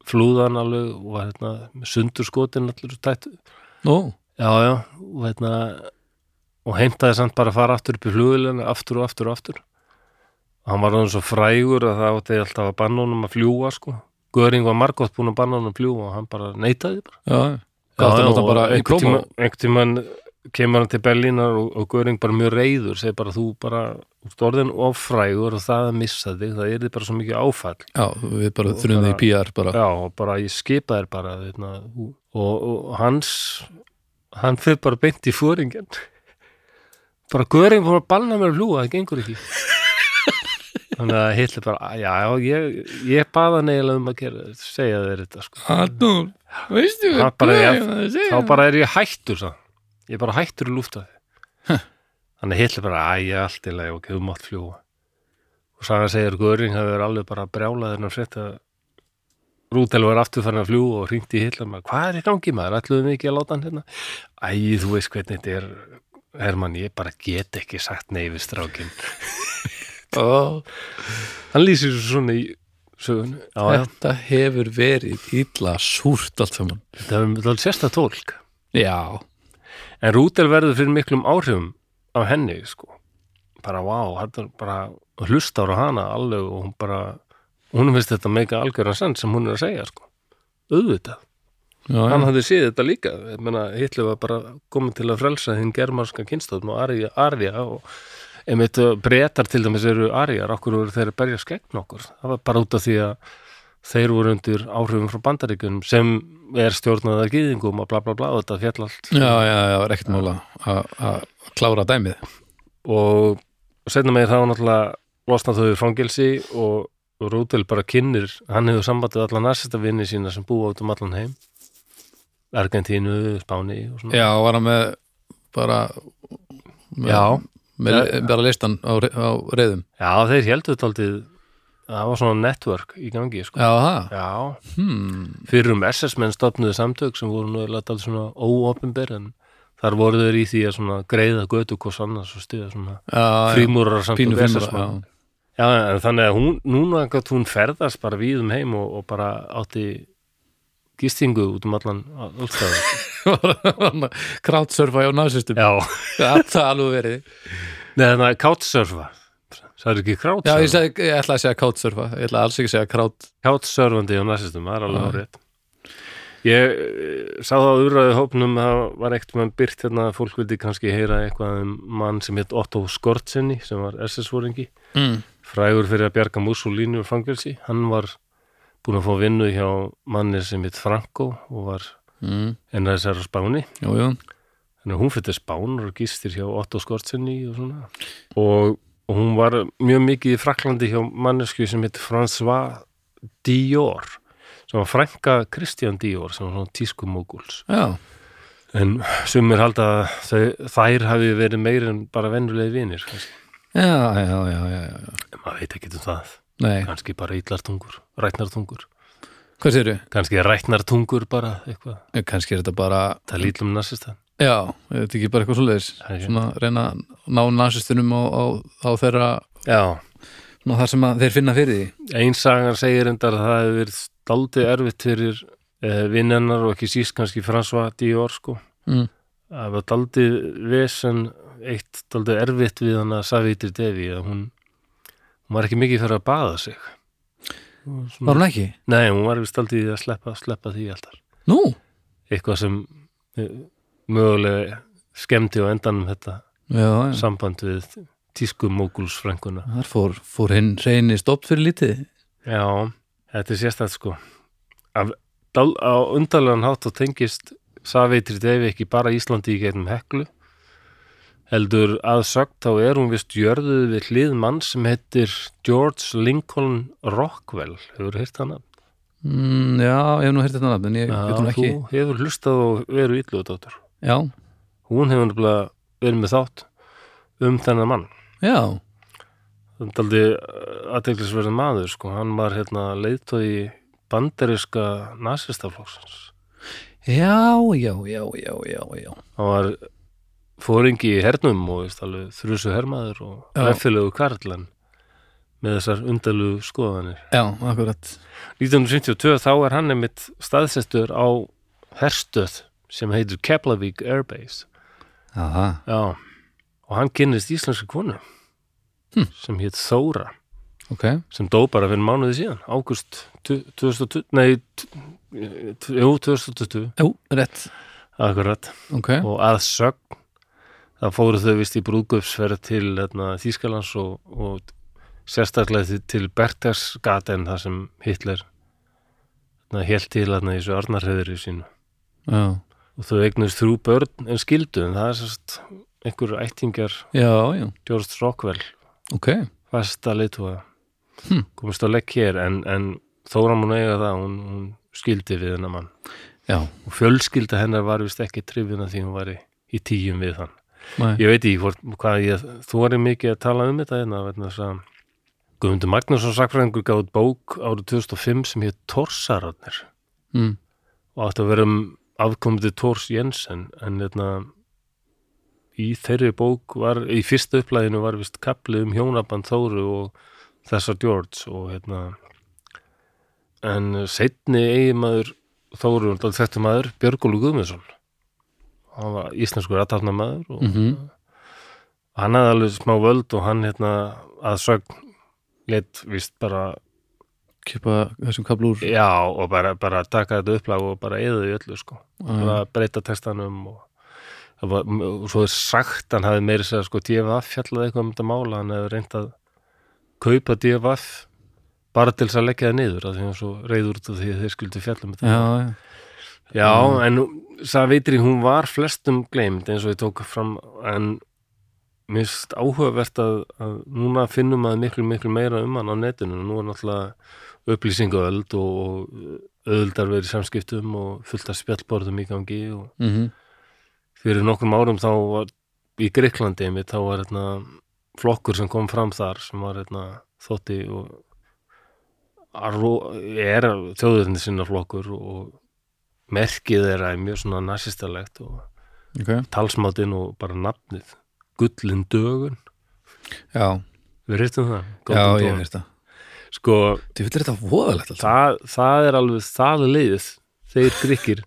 [SPEAKER 1] flúðan alveg og var hérna sundur skotin allir tætt
[SPEAKER 2] nú,
[SPEAKER 1] Já, já, og hérna og heimtaði samt bara að fara aftur upp í flugulina aftur og aftur og aftur og hann var þannig svo frægur að það átti alltaf að banna honum að fljúa sko Göring var margótt búin að banna honum að fljúa og hann bara neitaði bara
[SPEAKER 2] já Hvað það notan bara einn króma?
[SPEAKER 1] Einhvern tímann kemur hann til Berlínar og, og Göring bara mjög reyður segir bara þú bara, þú ert orðin of frægur og það að missa þig, það er þið bara svo mikið áfall
[SPEAKER 2] Já, við bara þurfum því í PR bara
[SPEAKER 1] Já, og bara ég skipa þér bara veitna, og, og hans hann fyrir bara beint í fóringin bara Göring fór að balna mér að flúa, það gengur ekki þannig að Hitler bara já, já, ég, ég baða neila um að gera, segja þér þetta sko.
[SPEAKER 2] Adolf, veistu
[SPEAKER 1] Það bara er-
[SPEAKER 2] það
[SPEAKER 1] þá bara er ég hættur það. ég er bara hættur í lúfta Þannig hittir bara, æja, allt í lagi, ok, þú mátt fljúa. Og saga segir Göring hafi verið alveg bara brjálaðin að frétta Rútel var aftur farin að fljúa og hringdi í hittir maður, hvað er í gangi maður, ætluðum við ekki að láta hann hérna? Æ, þú veist hvernig þetta er, Hermann, ég bara get ekki sagt nei við strákinn.
[SPEAKER 3] Ó,
[SPEAKER 1] Hann lýsir svo svona í sögunu. Já, já,
[SPEAKER 3] þetta hefur verið illa súrt allt saman.
[SPEAKER 1] þetta er alveg sérsta tólk.
[SPEAKER 3] Já,
[SPEAKER 1] En Rútel verður fyrir miklum áhrifum af henni, sko. Bara, vá, þetta er bara hlustar á hana alveg og hún bara, hún finnst þetta meika algjörðan sens sem hún er að segja, sko. Auðvitað.
[SPEAKER 3] já, já.
[SPEAKER 1] Hann hafði séð þetta líka. Ég meina, Hitler var bara komið til að frelsa hinn germanska kynstofn og arja, arja og einmitt breytar til dæmis eru arjar, okkur voru þeir að berjast gegn okkur. Það var bara út af því að þeir voru undir áhrifum frá bandaríkunum sem er stjórnað að gýðingum og bla bla bla og þetta fjall allt
[SPEAKER 2] Já, já, já, er ekkert mála að að klára dæmið
[SPEAKER 1] og setna meir þá náttúrulega losna þau í fangelsi og og Rúdel bara kynnir, hann hefur sambandið alla narsistavinni sína sem búa út um allan heim Argentínu, Spáni og svona
[SPEAKER 2] Já, var hann með bara með,
[SPEAKER 1] Já.
[SPEAKER 2] með, bara listan á, re- á reyðum
[SPEAKER 1] Já, þeir heldur þáldið það var svona network í gangi sko.
[SPEAKER 2] Já, það
[SPEAKER 1] Já,
[SPEAKER 2] hmm.
[SPEAKER 1] fyrir um SS-menn stopnuðu samtök sem voru nú alltaf svona óopinber en þar voru þeir í því að svona greiða götu hvors annars og stuða svona
[SPEAKER 2] Já, já,
[SPEAKER 1] frímúrar
[SPEAKER 2] pínu
[SPEAKER 1] samtök
[SPEAKER 2] finnur
[SPEAKER 1] SS-menn
[SPEAKER 2] já.
[SPEAKER 1] Já, en þannig að hún, núna gætt hún ferðast bara við um heim og, og bara átti gistingu út um allan allstæðu.
[SPEAKER 2] Krátsurfa hjá nazistum
[SPEAKER 1] Já,
[SPEAKER 2] Þetta er alveg verið
[SPEAKER 1] neða þannig að couchsurfa, sagði ekki
[SPEAKER 2] Já, ég,
[SPEAKER 1] couchsurfa,
[SPEAKER 2] seg, ég ætla að segja krátsurfa Ég ætla alls ekki að segja krát
[SPEAKER 1] couchsurfandi og næstistum, það er alveg rétt. Ég eh, sá það á urraði hópnum, það var ekkert með byrt hérna, að fólk vildi kannski heyra eitthvað um mann sem hétt Otto Skortsenni sem var SS-voringi.
[SPEAKER 2] mm.
[SPEAKER 1] frægur fyrir að bjarga Mussolini úr fangelsi, hann var búin að fá vinnu hjá manni sem hitt Franco og var
[SPEAKER 2] Mm.
[SPEAKER 1] NSR á Spáni
[SPEAKER 2] Jú, jú
[SPEAKER 1] þannig að hún fyrir Spán og gistir hjá Otto Skortsenni og svona og, og hún var mjög mikið í Fraklandi hjá mannesku sem hitt François Dior sem var frænka Christian Dior sem var svona tískumóguls
[SPEAKER 2] Já,
[SPEAKER 1] en sumir halda að þau, þær hafi verið meir en bara vennulegi vinir kannski.
[SPEAKER 2] já, já, já, já, já.
[SPEAKER 1] en maður veit ekki um það
[SPEAKER 2] Nei,
[SPEAKER 1] kannski bara illartungur, rætnartungur
[SPEAKER 2] hvað sérðu?
[SPEAKER 1] kannski rætnar tungur bara eitthvað,
[SPEAKER 2] Kannski er þetta bara
[SPEAKER 1] það um lítlum narsistan
[SPEAKER 2] Já, er þetta ekki bara eitthvað svoleiðis
[SPEAKER 1] er ekki.
[SPEAKER 2] Svona reyna að ná nazistunum á, á, á þeirra
[SPEAKER 1] já,
[SPEAKER 2] Ná þar sem að þeir finna fyrir því
[SPEAKER 1] einsagan segir endar að það hefur verið daldið erfitt fyrir eh, vinnennar og ekki síst kannski François Dior sko
[SPEAKER 2] Mm.
[SPEAKER 1] það var daldið vesen eitt daldið erfitt við hann að Savitri Devi að hún, hún var ekki mikið fyrir að baða sig Hún var svona,
[SPEAKER 2] Var hún ekki?
[SPEAKER 1] nei, hún var vist daldið í að sleppa, sleppa því alltaf
[SPEAKER 2] Nú?
[SPEAKER 1] eitthvað sem eh, mögulega skemmti á endanum þetta
[SPEAKER 2] Já, já
[SPEAKER 1] samband við tískumókulsfrænguna
[SPEAKER 2] Þar fór, fór hinn reyni stopp fyrir lítið
[SPEAKER 1] Já, þetta er sérstætt sko Af, dál, á undarlegan hátt og tengist Savitri Devi ekki bara Íslandi í gegnum heklu heldur að sögt þá er hún vist jörðuð við hlið mann sem heitir George Lincoln Rockwell hefur hýrt hana?
[SPEAKER 2] mm, Já, ég hef nú heyrt þetta nafn en ég veit hún ekki
[SPEAKER 1] þú hefur hlustað og veru illuðdóttur
[SPEAKER 2] Já,
[SPEAKER 1] hún hefur nefnilega verið með þátt um þennan mann
[SPEAKER 2] já,
[SPEAKER 1] þannig aldrei aðteglisverðin uh, maður sko, hann var hérna leiðtói bandariska nasistaflóksins
[SPEAKER 2] já, já, já, já, já, já.
[SPEAKER 1] hann var fóringi í hernum og veist, alveg, þrjusu hermaður og
[SPEAKER 2] Já.
[SPEAKER 1] ræfilegu karlan með þessar undalugu skoðanir
[SPEAKER 2] Já, akkurat
[SPEAKER 1] 1972 þá er hann einmitt staðsestur á herstöð sem heitir Keflavík Airbase
[SPEAKER 2] Aha.
[SPEAKER 1] Já. og hann kynnist íslenski konu
[SPEAKER 2] Hm.
[SPEAKER 1] sem hétt Þóra
[SPEAKER 2] Ok,
[SPEAKER 1] sem dó bara fyrir mánuði síðan águst 2020 nei, t- t- jú, 2020
[SPEAKER 2] jú, rétt
[SPEAKER 1] akkurat,
[SPEAKER 2] Ok,
[SPEAKER 1] og að sögn það fóru þau vist í brúðgöpsferð til hérna, Þýskalands og, og sérstaklega til- til Bertersgaten þar sem Hitler hérna, hélt til hérna, í þessu Arnarheðri sínu
[SPEAKER 2] já,
[SPEAKER 1] og þau eignust þrjú börn en skildu en það er sérst einhver ættingjar
[SPEAKER 2] já, já,
[SPEAKER 1] George Rockwell
[SPEAKER 2] ok
[SPEAKER 1] fasta leitúa
[SPEAKER 2] Hm.
[SPEAKER 1] komist á legg hér en, en Þóra mun eiga það hún, hún skildi við hennar mann
[SPEAKER 2] Já,
[SPEAKER 1] og fjölskylda hennar var vist ekki trifin að því hún var í, í tíum við hann
[SPEAKER 2] Nei.
[SPEAKER 1] ég veit ekki hvort, hvað ég þóri mikið að tala um þetta hérna, vegna þess að Guðmundur Magnússon sakfræðingur gáði bók árið 2005 sem hétt Torsararnir
[SPEAKER 2] Mm.
[SPEAKER 1] og átti að vera um afkomandi Tors Jensen en hérna í þeirri bók var, í fyrsta upplæðinu var vist kapli um hjónaband Þóru og þessar George og hérna en setni eigimaður Þóru, þetta maður Björgólu Guðmundsson hann var íslenskur aðtapnamaður og
[SPEAKER 2] Mhm.
[SPEAKER 1] hann hafði alveg smá völd og hann hérna að sögn leitt vist bara
[SPEAKER 2] Kipa þessum kaplúr
[SPEAKER 1] já og bara, bara taka þetta upplag og bara eða því öllu sko
[SPEAKER 2] Já,
[SPEAKER 1] bara breyta testanum og það var, og svo er sagt hann hafi meiri segja sko DFF fjallaði eitthvað um þetta mála hann hefur reynd að kaupa DFF bara til þess að leggja það niður af því hann var svo reyður út af því að þeir skuldi fjallum þetta
[SPEAKER 2] já,
[SPEAKER 1] Já, en það veitir ég, hún var flestum gleymd eins og ég tók fram en mist áhugavert að, að núna finnum að miklu, miklu meira um hann á netinu. Nú er náttúrulega upplýsingaöld og, og öðuldar verið samskiptum og fullt af spjallborðum í gangi og
[SPEAKER 2] Mhm.
[SPEAKER 1] fyrir nokkrum árum þá var í Greiklandi einmitt, þá var hérna, flokkur sem kom fram þar sem var hérna, þótti og Arro- er þjóðurinn sinna flokkur og merkið þeirra er mjög svona nasistalegt og
[SPEAKER 2] ok
[SPEAKER 1] talsmátinn og bara nafnið Gullin dögun,
[SPEAKER 2] Já,
[SPEAKER 1] við reytum það
[SPEAKER 2] já,
[SPEAKER 1] Golden
[SPEAKER 2] ég
[SPEAKER 1] Dawn.
[SPEAKER 2] veist það
[SPEAKER 1] sko,
[SPEAKER 2] Þú fyrir þetta voðalegt alltaf
[SPEAKER 1] það, það er alveg það er leiðið, þeir gríkir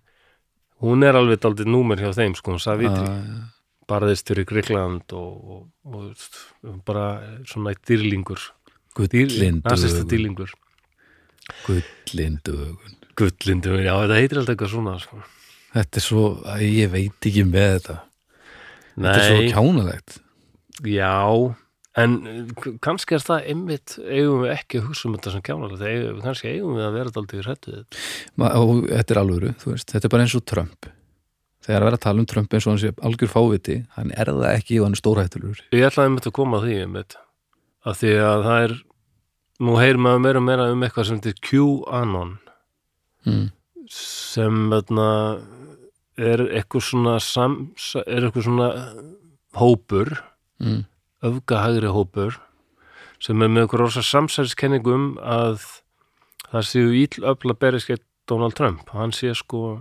[SPEAKER 1] hún er alveg daldið númer hjá þeim sko, hún sagði vitri
[SPEAKER 2] Já,
[SPEAKER 1] barðist fyrir Gríkland og, og, og bara svona eitt dýrlingur
[SPEAKER 2] Gullin
[SPEAKER 1] nasista
[SPEAKER 2] dögun
[SPEAKER 1] dýrlingur
[SPEAKER 2] Gullin dögun
[SPEAKER 1] gullindu, já þetta heitir alltaf eitthvað svona sko.
[SPEAKER 2] Þetta er svo, æ, ég veit ekki með þetta Þetta er svo
[SPEAKER 1] nei,
[SPEAKER 2] kjánalegt
[SPEAKER 1] já en eh, kannski er það einmitt eigum við ekki að hugsa um þetta sem kjánalega eigum, kannski eigum við að vera daldið hrættu við þetta.
[SPEAKER 2] Ma, og þetta er alvöru, þú veist, þetta er bara eins og Trump þegar að vera að tala um Trump eins og hann sé algjör fáviti, hann er það ekki og hann er stórhættulur
[SPEAKER 1] ég ætlaði einmitt að koma að því einmitt af því að það er nú heyrir maður meira og meira um eitthvað sem þetta er QAnon
[SPEAKER 2] mm.
[SPEAKER 1] sem öðna, er eitthvað svona sam, er eitthvað svona hópur
[SPEAKER 2] Mm.
[SPEAKER 1] öfgahagri hópur sem er með okkur rosa samsælskenningum að það séu íll öfla berjast gegn Donald Trump hann sé sko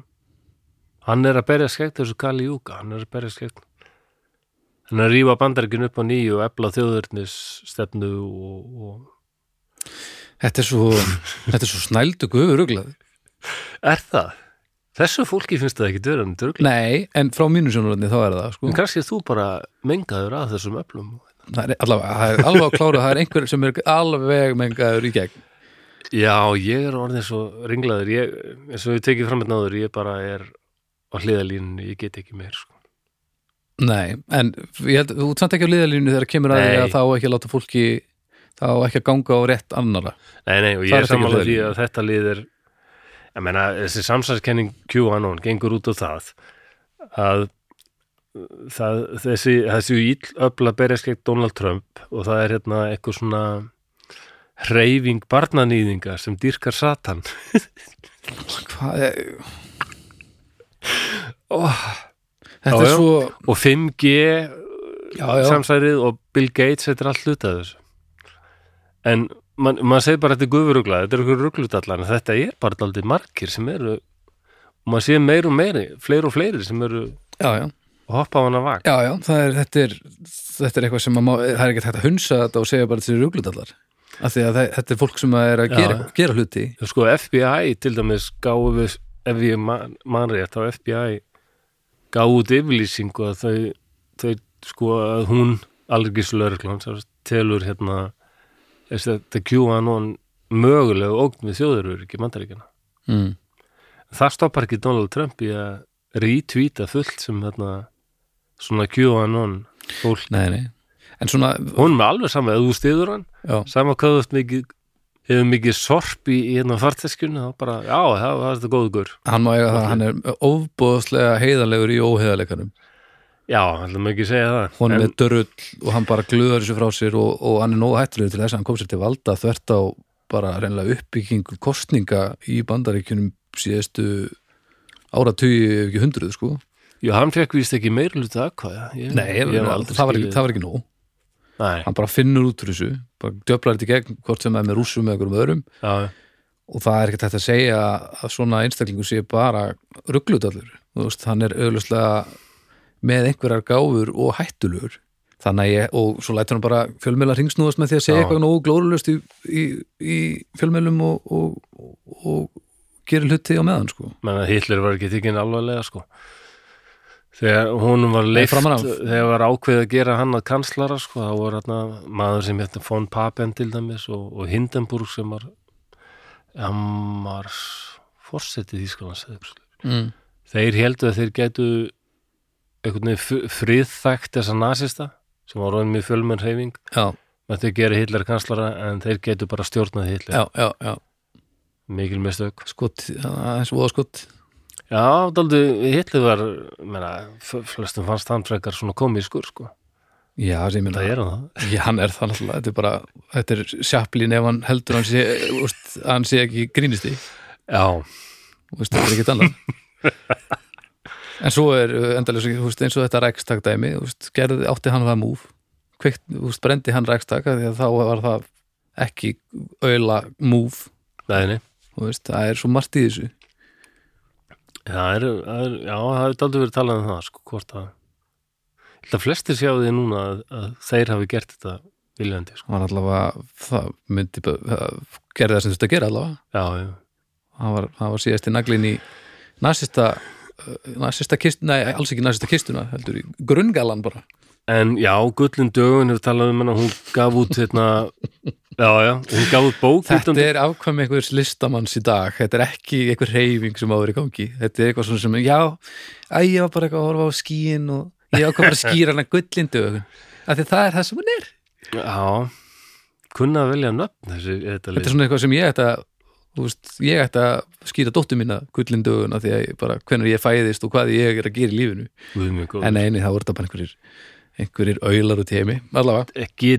[SPEAKER 1] hann er að berjast gegn þessu Kali Júka hann er að berjast gegn hann er að rífa bandarkin upp á nýju og efla þjóðurnis stefnu og, og
[SPEAKER 2] þetta er svo þetta er svo snældu guðuruglað
[SPEAKER 1] er það? Þessu fólki finnst það ekki dörðan dörgla
[SPEAKER 2] nei, en frá mínu sjónuröndi þá er það sko.
[SPEAKER 1] En kannski þú bara mengaður að þessum öflum.
[SPEAKER 2] það er allavega, það er alveg á kláru það er einhver sem er alveg mengaður í gegn
[SPEAKER 1] Já, ég er orðin svo ringlaður. Ég, eins og ég tekið fram með náður, ég bara er á hliðalínu, ég get ekki meir. Sko.
[SPEAKER 2] nei, en ég held, þú samt ekki á liðalínu þegar kemur að því
[SPEAKER 1] Nei.
[SPEAKER 2] að þá ekki að láta fólki þá ekki að ganga á rétt annara
[SPEAKER 1] Nei, nei, og
[SPEAKER 2] Það
[SPEAKER 1] ég
[SPEAKER 2] er
[SPEAKER 1] er
[SPEAKER 2] ekki
[SPEAKER 1] samanlega því
[SPEAKER 2] hliðarlínu.
[SPEAKER 1] að þetta lið er, ég meina, þessi samsæðskenning QAnon gengur út á það að það, þessi, þessi íll öfla berjast gegn Donald Trump og það er hérna eitthvað svona hreyfing barnanýðinga sem dýrkar Satan.
[SPEAKER 2] hvað er
[SPEAKER 1] Oh,
[SPEAKER 2] þetta
[SPEAKER 1] Já,
[SPEAKER 2] er
[SPEAKER 1] já.
[SPEAKER 2] svo
[SPEAKER 1] og 5G
[SPEAKER 2] já, já.
[SPEAKER 1] samsærið og Bill Gates þetta er allt hluta af þessu en man- maður segir bara að þetta er guðurugla þetta er okkur rugludallan, en þetta er bara aldrei margir sem eru og maður sé meir og meiri, fleiri og fleiri sem eru
[SPEAKER 2] já, já.
[SPEAKER 1] að hoppa á hana vagn
[SPEAKER 2] Já, já, það er, þetta, er, þetta er eitthvað sem að má, það er ekkert hægt að hunsa þetta og segja bara til ruglutallar af því að það, þetta er fólk sem að er að
[SPEAKER 1] Já,
[SPEAKER 2] gera,
[SPEAKER 1] já.
[SPEAKER 2] gera hluti
[SPEAKER 1] sko FBI til dæmis gáðu við, ef ég man, man rétt þá FBI gáðu út yfirlýsingu að þau, þau sko að hún algis lögreglan sem telur hérna þessi- þetta QAnon mögulega ógn við þjóðurur ekki mandaríkjana
[SPEAKER 2] mm.
[SPEAKER 1] það stoppar ekki Donald Trump í að retweeta fullt sem þarna svona QAnon fólk
[SPEAKER 2] Nei, nei, en svona
[SPEAKER 1] hún er alveg sama, eða þú stiður hann
[SPEAKER 2] já,
[SPEAKER 1] sama hvað þú ert mikið hefur mikið sorp í, í hérna farteskjunni þá bara, já, það var þetta góðu gur
[SPEAKER 2] hann má eiga það, hann er ofbóðslega heiðanlegur í óheiðarleikanum
[SPEAKER 1] já, ætlum ekki að segja það
[SPEAKER 2] hún
[SPEAKER 1] en,
[SPEAKER 2] er dörrull og hann bara glöður þessu frá sér og, og hann er nógu hættulegur til þess að hann kom sér til valda þvert á bara reynilega uppbyggingu kostninga í bandaríkjunum síðustu áratugi ef ekki hundruð sko
[SPEAKER 1] Jú, hann fekk víst ekki meir hluta aðkvæða. Ég-
[SPEAKER 2] Nei,
[SPEAKER 1] ég hef aldrei
[SPEAKER 2] það var, ekki,
[SPEAKER 1] skilið-
[SPEAKER 2] það var ekki nóg
[SPEAKER 1] Nei,
[SPEAKER 2] hann bara finnur út úr þessu bara döflar þetta í gegn hvort sem það er með rússum með einhverjum öðrum
[SPEAKER 1] já, já.
[SPEAKER 2] og það er ekkert hægt að segja að svona einstaklingu sé bara rugglutalur veist, hann er auðvitað með einhverjar gáfur og hættulur þannig að ég, og svo lætur hann bara fjölmiðla ringsnúðast með því að segja
[SPEAKER 1] Já.
[SPEAKER 2] eitthvað nógu glórulust í, í, í fjölmiðlum og, og, og, og gerir hluti á meðan sko
[SPEAKER 1] menn að Hitler var ekki tekinn alvarlega sko þegar honum var leift
[SPEAKER 2] framan af.
[SPEAKER 1] þegar var ákveðið að gera hann að kanslara sko, þá var hann maður sem hérna von Papen til dæmis og, og Hindenburg sem var hann var forsetið í skoðans
[SPEAKER 2] mm.
[SPEAKER 1] þeir heldu að þeir gætu einhvern veginn friðþægt þessa nasista sem var orðin mjög fjölmenn reyfing
[SPEAKER 2] já,
[SPEAKER 1] með þau gera Hitler kanslara en þeir gætu bara stjórnað Hitler
[SPEAKER 2] já, já, já
[SPEAKER 1] mikil mistök
[SPEAKER 2] skot, aðeins voða skot
[SPEAKER 1] Já, daldi, Hitler var menna, f- flestum fannst hann frekar svona komískur, sko.
[SPEAKER 2] já, sem ég minna
[SPEAKER 1] Það er hann það.
[SPEAKER 2] Já, hann er það náttúrulega, þetta er bara þetta er sjaplín ef hann heldur hann sé, úst, hann sé ekki grínist í
[SPEAKER 1] Já,
[SPEAKER 2] úst, þetta er ekkert annað en svo er uh, endalega úst, eins og þetta rækstak dæmi úst, gerði, átti hann það múf Kveikt, úst, brendi hann rækstak af því að þá var það ekki auðla múf
[SPEAKER 1] neðinni.
[SPEAKER 2] úst, það er svo margt í þessu
[SPEAKER 1] Það er, það er, já, það hefur daldi verið talað um það, sko, hvort að Ég held að flestir sjá því núna að, að þeir hafi gert þetta viljandi, sko.
[SPEAKER 2] hann allavega, það myndi bara- það gerði það sem þurfti að gera allavega
[SPEAKER 1] Já, já,
[SPEAKER 2] hann var, hann var síðast í naglin í nasista eh, nasista kistuna, nei alls ekki nasista kistuna heldur í grungalan bara
[SPEAKER 1] En já, Gullin Dögun hefur talað um hennar, hún gaf út hérna, já, já, hún gaf út bók
[SPEAKER 2] þetta
[SPEAKER 1] utan-
[SPEAKER 2] er afkvæmi einhvers listamanns í dag þetta er ekki einhver reyfing sem áður í gangi þetta er eitthvað svona sem, já æ, ég var bara eitthvað að horfa á skíin og ég ákvað bara að skýra hana gullindu af því það er það sem hún er
[SPEAKER 1] Já, kunna að velja nöfn þessi, þetta
[SPEAKER 2] þetta
[SPEAKER 1] lið.
[SPEAKER 2] er svona eitthvað sem ég ætti að þú veist, ég ætti að skýra dóttur mína gullindu af því að ég bara, hvernig ég fæðist og hvað ég er að gera í lífinu
[SPEAKER 1] Guð mjög góð.
[SPEAKER 2] en eini, það voru þetta bara einhverjir einhverjir aular út í heimi, allavega
[SPEAKER 1] ekki,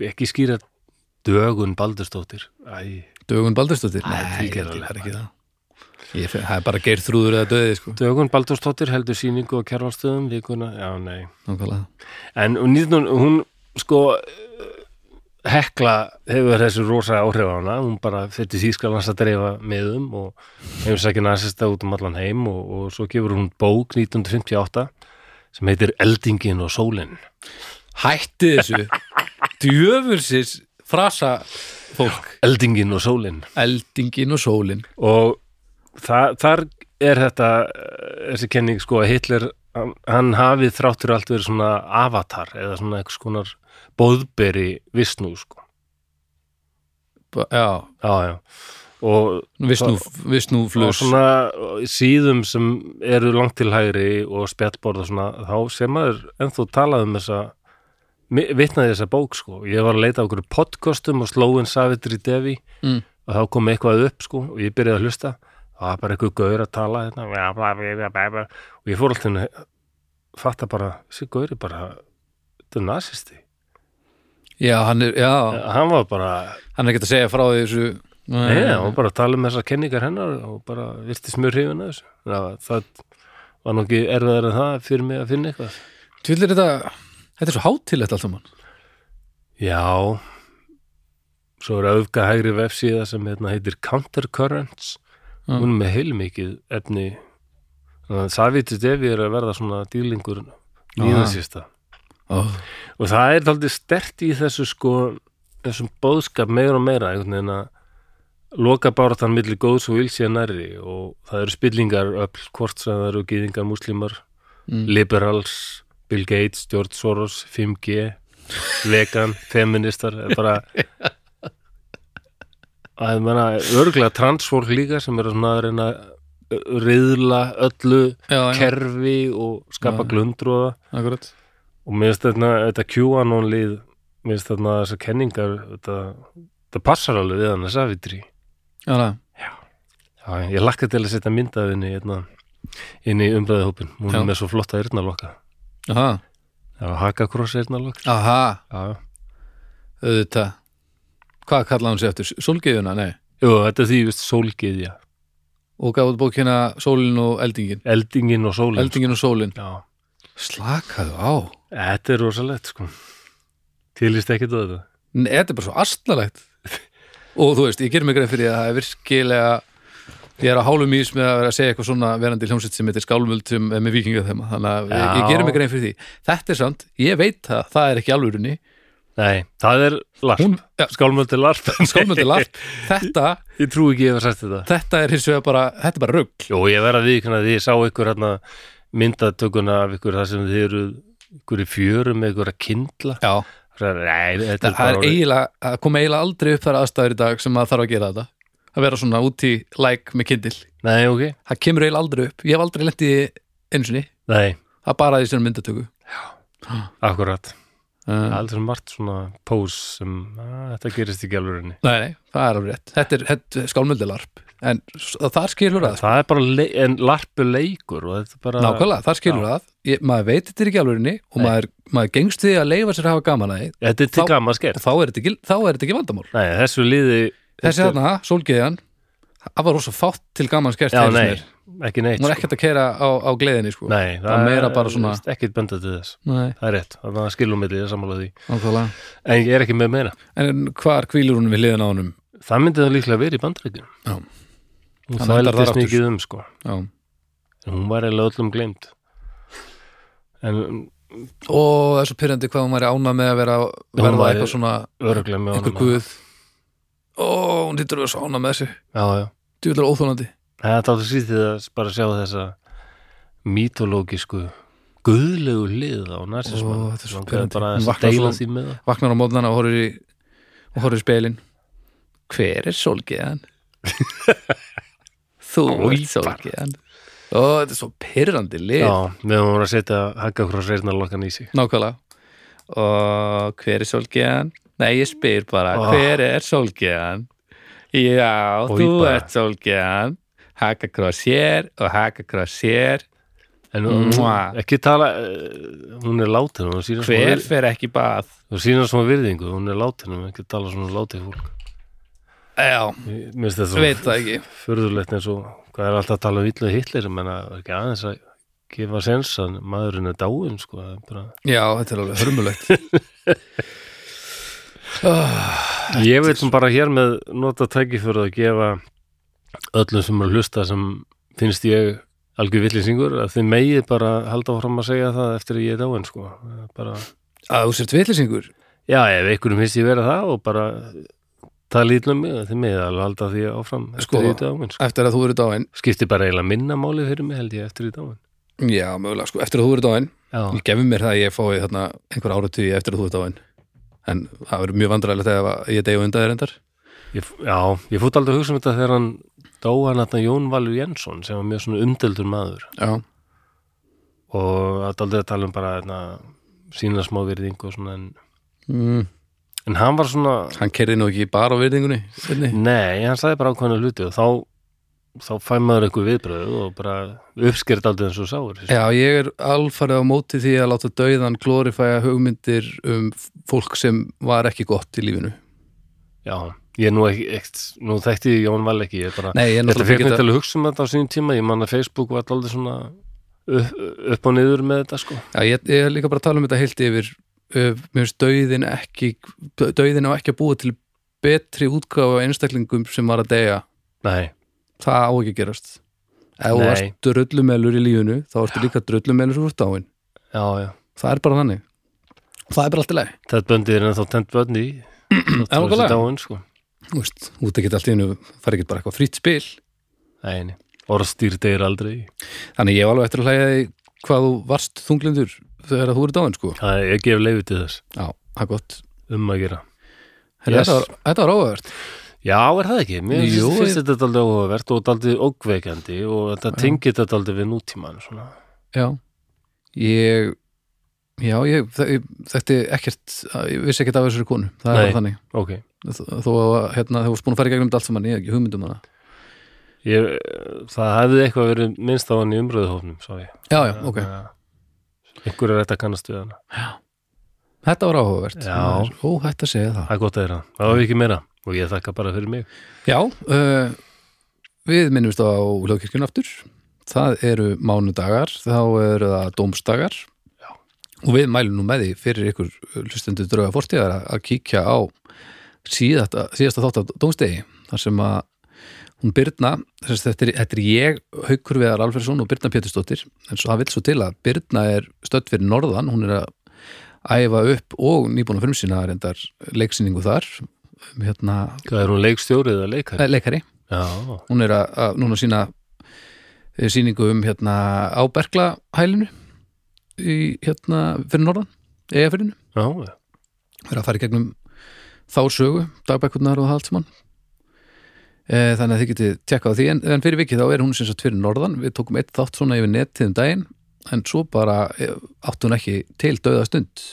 [SPEAKER 1] ekki skýra dögun Baldursdóttir Æ,
[SPEAKER 2] Dögun Baldursdóttir?
[SPEAKER 1] Nei,
[SPEAKER 2] Nei,
[SPEAKER 1] því
[SPEAKER 2] ég
[SPEAKER 1] gerði það
[SPEAKER 2] held ég fari ekki það ég, fer- Það er bara geir þrúður eða döði sko.
[SPEAKER 1] dögun Baldursdóttir heldur síningu á kjærvalstöðum vikuna, já nei
[SPEAKER 2] Nákvæmlega
[SPEAKER 1] en og 19, hún sko eh, hekla hefur þessu rosa áhrif á hana hún bara fyrir Þýskalands að dreifa meðum og hefur sækja nasista út um allan heim og, og svo gefur hún bók 1958 sem heitir Eldingin og Sólin
[SPEAKER 2] Hætti þessu Djöfursis frasa fólk
[SPEAKER 1] Eldingin og Sólin
[SPEAKER 2] Eldingin og sólin
[SPEAKER 1] og það, þar er þetta eh, þessi kenning sko að Hitler hann, hann hafið þráttur allt verið svona avatar eða svona einhvers konar bóðberi vissnú sko
[SPEAKER 2] Ba- Já,
[SPEAKER 1] já, já. og
[SPEAKER 2] visnú, visnú
[SPEAKER 1] og
[SPEAKER 2] flus
[SPEAKER 1] svona síðum sem eru langt til hægri og spjallborð og svona þá sem maður ennþá talað um þessa mi- vitnaði þessa bók sko ég var að leita á okkur podcastum og slóin Savitri Devi
[SPEAKER 2] Mm.
[SPEAKER 1] og þá kom eitthvað upp sko og ég byrjaði að hlusta og það var bara eitthvað gaur að tala hérna, bla, bla, bla, bla, bla, bla. og ég fór alltaf að fatta bara, þessi gaur er bara þetta er nasisti
[SPEAKER 2] Já, hann er, já,
[SPEAKER 1] hann var bara,
[SPEAKER 2] hann er ekki að segja frá því þessu
[SPEAKER 1] Nei, hann var bara að tala um þessar kenningar hennar og bara virti smjör hrifin að þessu. Það, var- það var nú ekki erfiðar en það fyrir mig að finna eitthvað.
[SPEAKER 2] Tvillir þetta, þetta er svo hátilegt allt saman
[SPEAKER 1] Já, svo er auðga hægri vefsíða sem hérna, heitir Countercurrents.
[SPEAKER 2] Mm.
[SPEAKER 1] Hún er með heilmikið efni. Þannig að Savitri Devi er að verða svona dýlingur nýðansýsta.
[SPEAKER 2] Ó,
[SPEAKER 1] og það er aldrei stert í þessu sko þessum bóðskap meira og meira einhvern veginn að loka báratan milli góðs og vilsja nærri og það eru spillingar öll hvort sem það eru gýðingar, múslimar
[SPEAKER 2] Mm.
[SPEAKER 1] liberals, Bill Gates, George Soros 5G, vegan feministar, það er bara að ég menna örgulega transfólk líka sem eru svona að reyna að riðla öllu
[SPEAKER 2] Já, já,
[SPEAKER 1] kerfi og skapa
[SPEAKER 2] Já.
[SPEAKER 1] glundróða
[SPEAKER 2] akkurat
[SPEAKER 1] og mér finnst þarna þetta QAnon lið mér finnst þarna þessar kenningar þetta, þetta passar alveg við hann að savitri
[SPEAKER 2] Já, já,
[SPEAKER 1] Já, ég lakka til að setja myndaðinni hérna, inn í umræðihópin hún
[SPEAKER 2] Já.
[SPEAKER 1] er með svo flotta eyrnalokka
[SPEAKER 2] aha,
[SPEAKER 1] það var hakakross eyrnalokk
[SPEAKER 2] aha,
[SPEAKER 1] Já.
[SPEAKER 2] auðvitað Hvað kallaði hann sér eftir? Sólgeðuna, nei
[SPEAKER 1] Jú, þetta er því, ég veist, sólgiðja
[SPEAKER 2] og gaf út bókina Sólin og Eldingin
[SPEAKER 1] Eldingin og sólin sko.
[SPEAKER 2] Eldingin og Sólin
[SPEAKER 1] Já,
[SPEAKER 2] Slakaðu á
[SPEAKER 1] þetta er rosalegt sko Tilist ekki þetta
[SPEAKER 2] Nei, Þetta er bara svo astnalegt og þú veist, ég ger mig grein fyrir því að það er virkilega ég er á hálum ís með að vera að segja eitthvað svona verandi hljómsveit sem heitir skálmöldum eh, með vikinga þeim þannig að ég, ég
[SPEAKER 1] Já.
[SPEAKER 2] ger mig grein fyrir því Þetta er samt, ég veit það, það er ekki alvörunni
[SPEAKER 1] Nei, það er larp
[SPEAKER 2] Hún, ja,
[SPEAKER 1] Skálmöldi larp
[SPEAKER 2] skálmöldu larp þetta,
[SPEAKER 1] Ég trú ekki ég hef sagt þetta
[SPEAKER 2] þetta er hins vegar bara þetta er bara rugg
[SPEAKER 1] Jó, ég verð að viðkynna því ég sá ykkur hérna myndatökuna af ykkur þar sem þið eru ykkur í fjörum með ykkur að kindla
[SPEAKER 2] Já,
[SPEAKER 1] Það er, nei, þetta
[SPEAKER 2] það,
[SPEAKER 1] er bara
[SPEAKER 2] er
[SPEAKER 1] orðið-
[SPEAKER 2] eiginlega, það kom eiginlega aldrei upp þar aðstæður í dag sem maður þarf að gera þetta að vera svona út í læk með kindil
[SPEAKER 1] Nei, ok,
[SPEAKER 2] það kemur eiginlega aldrei upp, ég hef aldrei lent í því einu sinni,
[SPEAKER 1] nei,
[SPEAKER 2] það er bara því sem myndatöku
[SPEAKER 1] akkurat
[SPEAKER 2] uh,
[SPEAKER 1] Aldrei margt svona pós sem að, þetta gerist ekki alveg henni
[SPEAKER 2] Nei, nei, það er alveg rétt Þetta er, þetta er skálmöldilarp En s- þar skilur að, sko.
[SPEAKER 1] Það er bara, le- en larpu leikur og þetta er bara
[SPEAKER 2] nákvæmlega, þar skilur að ég, Maður veit þetta er ekki alvegurinni Og
[SPEAKER 1] Nei.
[SPEAKER 2] maður, maður gengst því að leifa sér að hafa gaman að því
[SPEAKER 1] Þetta er til
[SPEAKER 2] Þá-
[SPEAKER 1] gaman skert
[SPEAKER 2] Og þá er þetta ekki, þá er þetta ekki vandamál
[SPEAKER 1] Nei, þessu liði
[SPEAKER 2] Þessi
[SPEAKER 1] þetta-
[SPEAKER 2] þarna, sólgeðan Það var rosa fátt til gaman skert
[SPEAKER 1] Já,
[SPEAKER 2] einu sinni.
[SPEAKER 1] nei, ekki neitt sko.
[SPEAKER 2] Hún var ekkert að keira á, á gleðinni sko.
[SPEAKER 1] Nei,
[SPEAKER 2] var meira bara svona-
[SPEAKER 1] veist, ekkert benda til þess
[SPEAKER 2] nei
[SPEAKER 1] Það er rétt, þannig að skilum milli, ég sammála því
[SPEAKER 2] nákvæmlega.
[SPEAKER 1] En ég er ekki með meira
[SPEAKER 2] En hvar hvílur hún við hliðin á honum
[SPEAKER 1] Það myndi það líklega verið í bandrækjum
[SPEAKER 2] Já.
[SPEAKER 1] Og
[SPEAKER 2] Hann
[SPEAKER 1] það
[SPEAKER 2] endar þar
[SPEAKER 1] heldist
[SPEAKER 2] aftur.
[SPEAKER 1] mikið um, sko
[SPEAKER 2] Já.
[SPEAKER 1] En Hún var eiginlega öllum gleymd En
[SPEAKER 2] Og þessu pyrrandi hvað hún væri ána með að vera
[SPEAKER 1] Hún
[SPEAKER 2] Verða
[SPEAKER 1] væri-
[SPEAKER 2] eitthvað svona,
[SPEAKER 1] öruglega með
[SPEAKER 2] einhver
[SPEAKER 1] honum
[SPEAKER 2] guð Ó, hún lítur að vera svo ána með þessu
[SPEAKER 1] Já, já
[SPEAKER 2] Djúlar óþólandi
[SPEAKER 1] Það er þáttu sýttið að bara sjá þessa mítológisku guðlegu hlið á narsismann
[SPEAKER 2] Ó, þetta er svo pirrandi.
[SPEAKER 1] bara
[SPEAKER 2] Hún
[SPEAKER 1] að
[SPEAKER 2] vaknar
[SPEAKER 1] deila
[SPEAKER 2] svo-
[SPEAKER 1] því með það
[SPEAKER 2] vaknar á mótnana og horfir í og horfir í speilin hver er sólgeðan? þú
[SPEAKER 1] Oj,
[SPEAKER 2] er sólgeðan og þetta er svo pyrrandi lið
[SPEAKER 1] Já, meðan hún var að setja haggakross reynarlokkan í sig
[SPEAKER 2] nákvæmlega og hver er sólgeðan? nei ég spyr bara
[SPEAKER 1] Ó.
[SPEAKER 2] hver er sólgeðan? já
[SPEAKER 1] Oj,
[SPEAKER 2] þú
[SPEAKER 1] bara.
[SPEAKER 2] ert sólgeðan Hakakross hér og Hakakross hér
[SPEAKER 1] En hún,
[SPEAKER 2] Mwah.
[SPEAKER 1] ekki tala eh, hún er látin, hún sýnast
[SPEAKER 2] hver fer ekki í bað?
[SPEAKER 1] hún sýnast svona virðingu, hún er látin hún ekki tala svona látið fólk
[SPEAKER 2] já,
[SPEAKER 1] Mér mér finnst þetta
[SPEAKER 2] veit
[SPEAKER 1] svona
[SPEAKER 2] það ekki
[SPEAKER 1] furðulegt eins og hvað er alltaf að tala um villu hitlir menna ekki aðeins að gefa sens að maðurinn er dáin sko, það er bara...
[SPEAKER 2] já, þetta er alveg hörmulegt Ah,
[SPEAKER 1] Ég veit sem bara hér með nota tækiförð að gefa öllum sem eru að hlusta sem finnst ég algjör villisingur að þið megið bara halda fram að segja það eftir að ég er dáin sko. bara,
[SPEAKER 2] að þú sért vitlisingur
[SPEAKER 1] já ef einhverjum finnst ég vera það og bara það lítið um mig að þið megið alveg halda því áfram eftir
[SPEAKER 2] Sko.
[SPEAKER 1] að ég er dáin sko.
[SPEAKER 2] eftir að þú eru dáin
[SPEAKER 1] skipti bara eiginlega minna máli fyrir mig held ég eftir ég er dáin
[SPEAKER 2] Já, mögulega, sko, eftir að þú eru dáin
[SPEAKER 1] já,
[SPEAKER 2] Ég gefi mér það að ég fái þarna einhver áratugi eftir að þú eru dáin En það verður mjög vandræðilegt ef að ég degi undan þér endar
[SPEAKER 1] ég, já, ég fótt aldrei að hugsa um þetta þegar hann dó hann að Jón Valur Jensson sem var mjög svona umdeldur maður
[SPEAKER 2] Já,
[SPEAKER 1] og það er aldrei að tala um bara na, sína smá virðingu og svona en,
[SPEAKER 2] mm,
[SPEAKER 1] en hann var svona
[SPEAKER 2] hann kerði nú ekki bara á virðingunni Hvernig?
[SPEAKER 1] nei, hann sagði bara ákveðna hluti og þá þá fæ maður einhver viðbröð og bara uppskert aldrei eins og sáur
[SPEAKER 2] Já, ég er alfarið á móti því að láta dauðan glorifæja hugmyndir um f- fólk sem var ekki gott í lífinu
[SPEAKER 1] Já, ég nú ekki, ekki nú þekkti ég Jón Val ekki ég bara,
[SPEAKER 2] Nei, ég er
[SPEAKER 1] þetta
[SPEAKER 2] náttúrulega
[SPEAKER 1] fekk mig
[SPEAKER 2] ekki
[SPEAKER 1] til að hugsa um þetta á sínum tíma ég man að Facebook var aldrei svona upp, upp og niður með þetta sko
[SPEAKER 2] Já, ég, ég er líka bara að tala um þetta heilt yfir Ö, Mér finnst dauðin ekki Dauðin á ekki að búa til betri útgáfa af einstaklingum sem var að deyja
[SPEAKER 1] nei,
[SPEAKER 2] það á ekki að gerast ef þú
[SPEAKER 1] Nei.
[SPEAKER 2] varst drullumelur í lífinu þá ertu líka drullumelur sem þú ert áinn
[SPEAKER 1] já, já
[SPEAKER 2] það er bara þannig Og það er bara allt í lagi
[SPEAKER 1] þetta böndið er ennþá tent böndi í
[SPEAKER 2] Mm,
[SPEAKER 1] Þótt það sé
[SPEAKER 2] nákvæmlega.
[SPEAKER 1] dáin, sko.
[SPEAKER 2] Þú veist, út ekki allt í hennu fari ekki bara eitthvað frýtt spil
[SPEAKER 1] Nei, nei. orðstýr deyr aldrei
[SPEAKER 2] þannig ég var alveg eftir að hlæja því hvað þú varst þunglindur þegar þú ert dáinn sko
[SPEAKER 1] það, ég gef leiði til þess
[SPEAKER 2] já, það er gott
[SPEAKER 1] um að gera Yes.
[SPEAKER 2] Herra, þetta, var, þetta var óvært
[SPEAKER 1] Já, er það ekki? Mér
[SPEAKER 2] Jú,
[SPEAKER 1] finnst- finnst
[SPEAKER 2] ég-
[SPEAKER 1] þetta aldrei óhugavert og aldrei ógveikandi og þetta tengir þetta aldrei við nútímann svona.
[SPEAKER 2] já, ég já, ég, þe- ég þetta er ekkert ég vissi ekkert af þessari konu það er
[SPEAKER 1] Nei.
[SPEAKER 2] bara þannig
[SPEAKER 1] Ok,
[SPEAKER 2] Þó- þó að hérna, þú varst búin að fara í gegnum þetta allt saman ég hef ekki hugmyndum hana
[SPEAKER 1] ég, það hefði eitthvað verið minnst á hann í umröðuhófnum, svo ég.
[SPEAKER 2] já, já, ok
[SPEAKER 1] Einhver er þetta kannast við hana.
[SPEAKER 2] Þetta var áhugavert.
[SPEAKER 1] Já.
[SPEAKER 2] Ó, hætt að segja það.
[SPEAKER 1] Það er gott að þeirra. Það var ekki meira og ég þakka bara fyrir mig.
[SPEAKER 2] Já, uh, við minnumst á hljóðkirkjun aftur það eru mánudagar þá eru það dómstagar og við mælum nú með því fyrir ykkur uh, hlustendur drauga fórstíðar að kíkja á síðasta, síðasta þátt af dómstegi þar sem að hún Birna þess, þetta, er, þetta er ég, Haukur Viðar Alfersson og Birna Pétursdóttir en svo það vill svo til að Birna er stödd fyrir norðan hún er að æfa upp og nýbúna frumsýna reyndar leiksýningu þar um, hérna,
[SPEAKER 1] Hvað er hún leikstjórið eða leikar?
[SPEAKER 2] eh, leikari
[SPEAKER 1] Já,
[SPEAKER 2] hún er að, að núna sína síningu um hérna á Berklahælinu í hérna fyrir norðan eða fyrir
[SPEAKER 1] já,
[SPEAKER 2] verið að fara í gegnum þá sögu, dagbækurnar og það allt saman e, þannig að þið getið tjekkað á því en, en fyrir vikið þá er hún sem sagt fyrir norðan við tókum eitt þátt svona yfir netið um daginn en svo bara eh, átti hún ekki til döða stund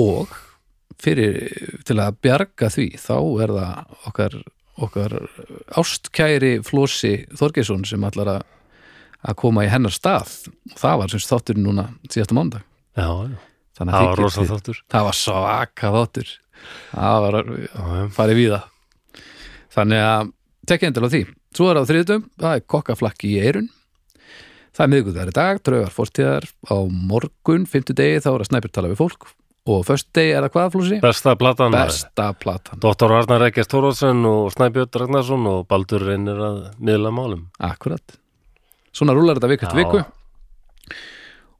[SPEAKER 2] og fyrir til að bjarga því þá er það okkar, okkar ástkæri Flósi Þorgesson sem allar að að koma í hennar stað það var sem sagt þátturinn núna síðasta mándag
[SPEAKER 1] já, já.
[SPEAKER 2] þannig
[SPEAKER 1] það
[SPEAKER 2] að
[SPEAKER 1] var
[SPEAKER 2] þið
[SPEAKER 1] rosa
[SPEAKER 2] getið-
[SPEAKER 1] þáttur
[SPEAKER 2] það var svaka þáttur það var
[SPEAKER 1] Já, já.
[SPEAKER 2] farið víða þannig að tekja endal á því svo er á þriðutum, það er kokkaflakki í eirun það er miðgudar í dag draugar fórstíðar á morgun fimmtudegi þá er að snæpjur tala við fólk og föstudegi er það hvað flúsi?
[SPEAKER 1] Besta platan maður.
[SPEAKER 2] besta platan,
[SPEAKER 1] Dóttar Arnar Rekkjars Tórótsen og Snæbjörn Ragnarsson og Baldur reynir að miðla málum
[SPEAKER 2] akkurat svona rúlar þetta viku
[SPEAKER 1] Já.
[SPEAKER 2] eftir viku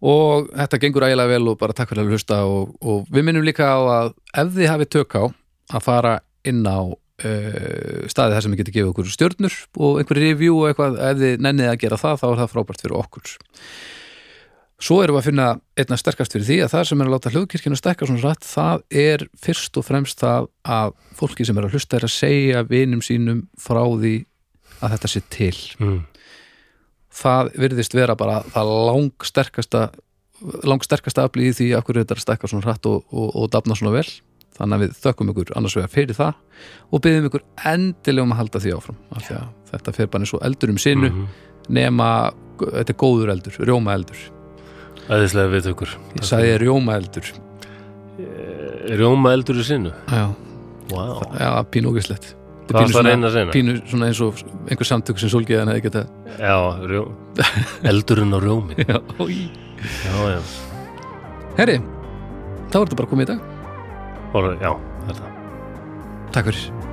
[SPEAKER 2] og þetta gengur ægilega vel og bara takk fyrir að hlusta og, og við minnum líka á að ef þið hafið tök á að fara inn á uh, staði þar sem við getum gefið okkur stjörnur og einhver review og eitthvað ef þið nennið að gera það þá er það frábært fyrir okkur Svo erum við að finna einna sterkast fyrir því að það sem er að láta hljóðkirkjuna stekka svona rætt, það er fyrst og fremst það að fólki sem er að hlusta er að segja vinum sínum frá því að þetta sé til
[SPEAKER 1] mm.
[SPEAKER 2] það virðist vera bara það langsterkasta langsterkasta afli í því að hverju þetta er að stekka svona hratt og, og, og dafna svona vel þannig að við þökkum ykkur annars vegar fyrir það og byggjum ykkur endilega um að halda því áfram af því að þetta fer bara eins og eldur um sinu
[SPEAKER 1] Mhm.
[SPEAKER 2] nema, þetta er góður eldur, rjóma eldur
[SPEAKER 1] Æðislega við tökur
[SPEAKER 2] ég sagði rjóma eldur
[SPEAKER 1] Eh, Rjóma eldur í sinu
[SPEAKER 2] já,
[SPEAKER 1] wow.
[SPEAKER 2] já pínu ógislegt
[SPEAKER 1] Hvað varstu að reyna að segja?
[SPEAKER 2] pínu svona eins og einhver samtök sem sólgeðan hefði geta
[SPEAKER 1] Já, rjó... eldurinn á rjómin
[SPEAKER 2] já,
[SPEAKER 1] Já, já,
[SPEAKER 2] herri, þá er þetta bara komið í dag
[SPEAKER 1] Orra, já, þetta
[SPEAKER 2] takk fyrir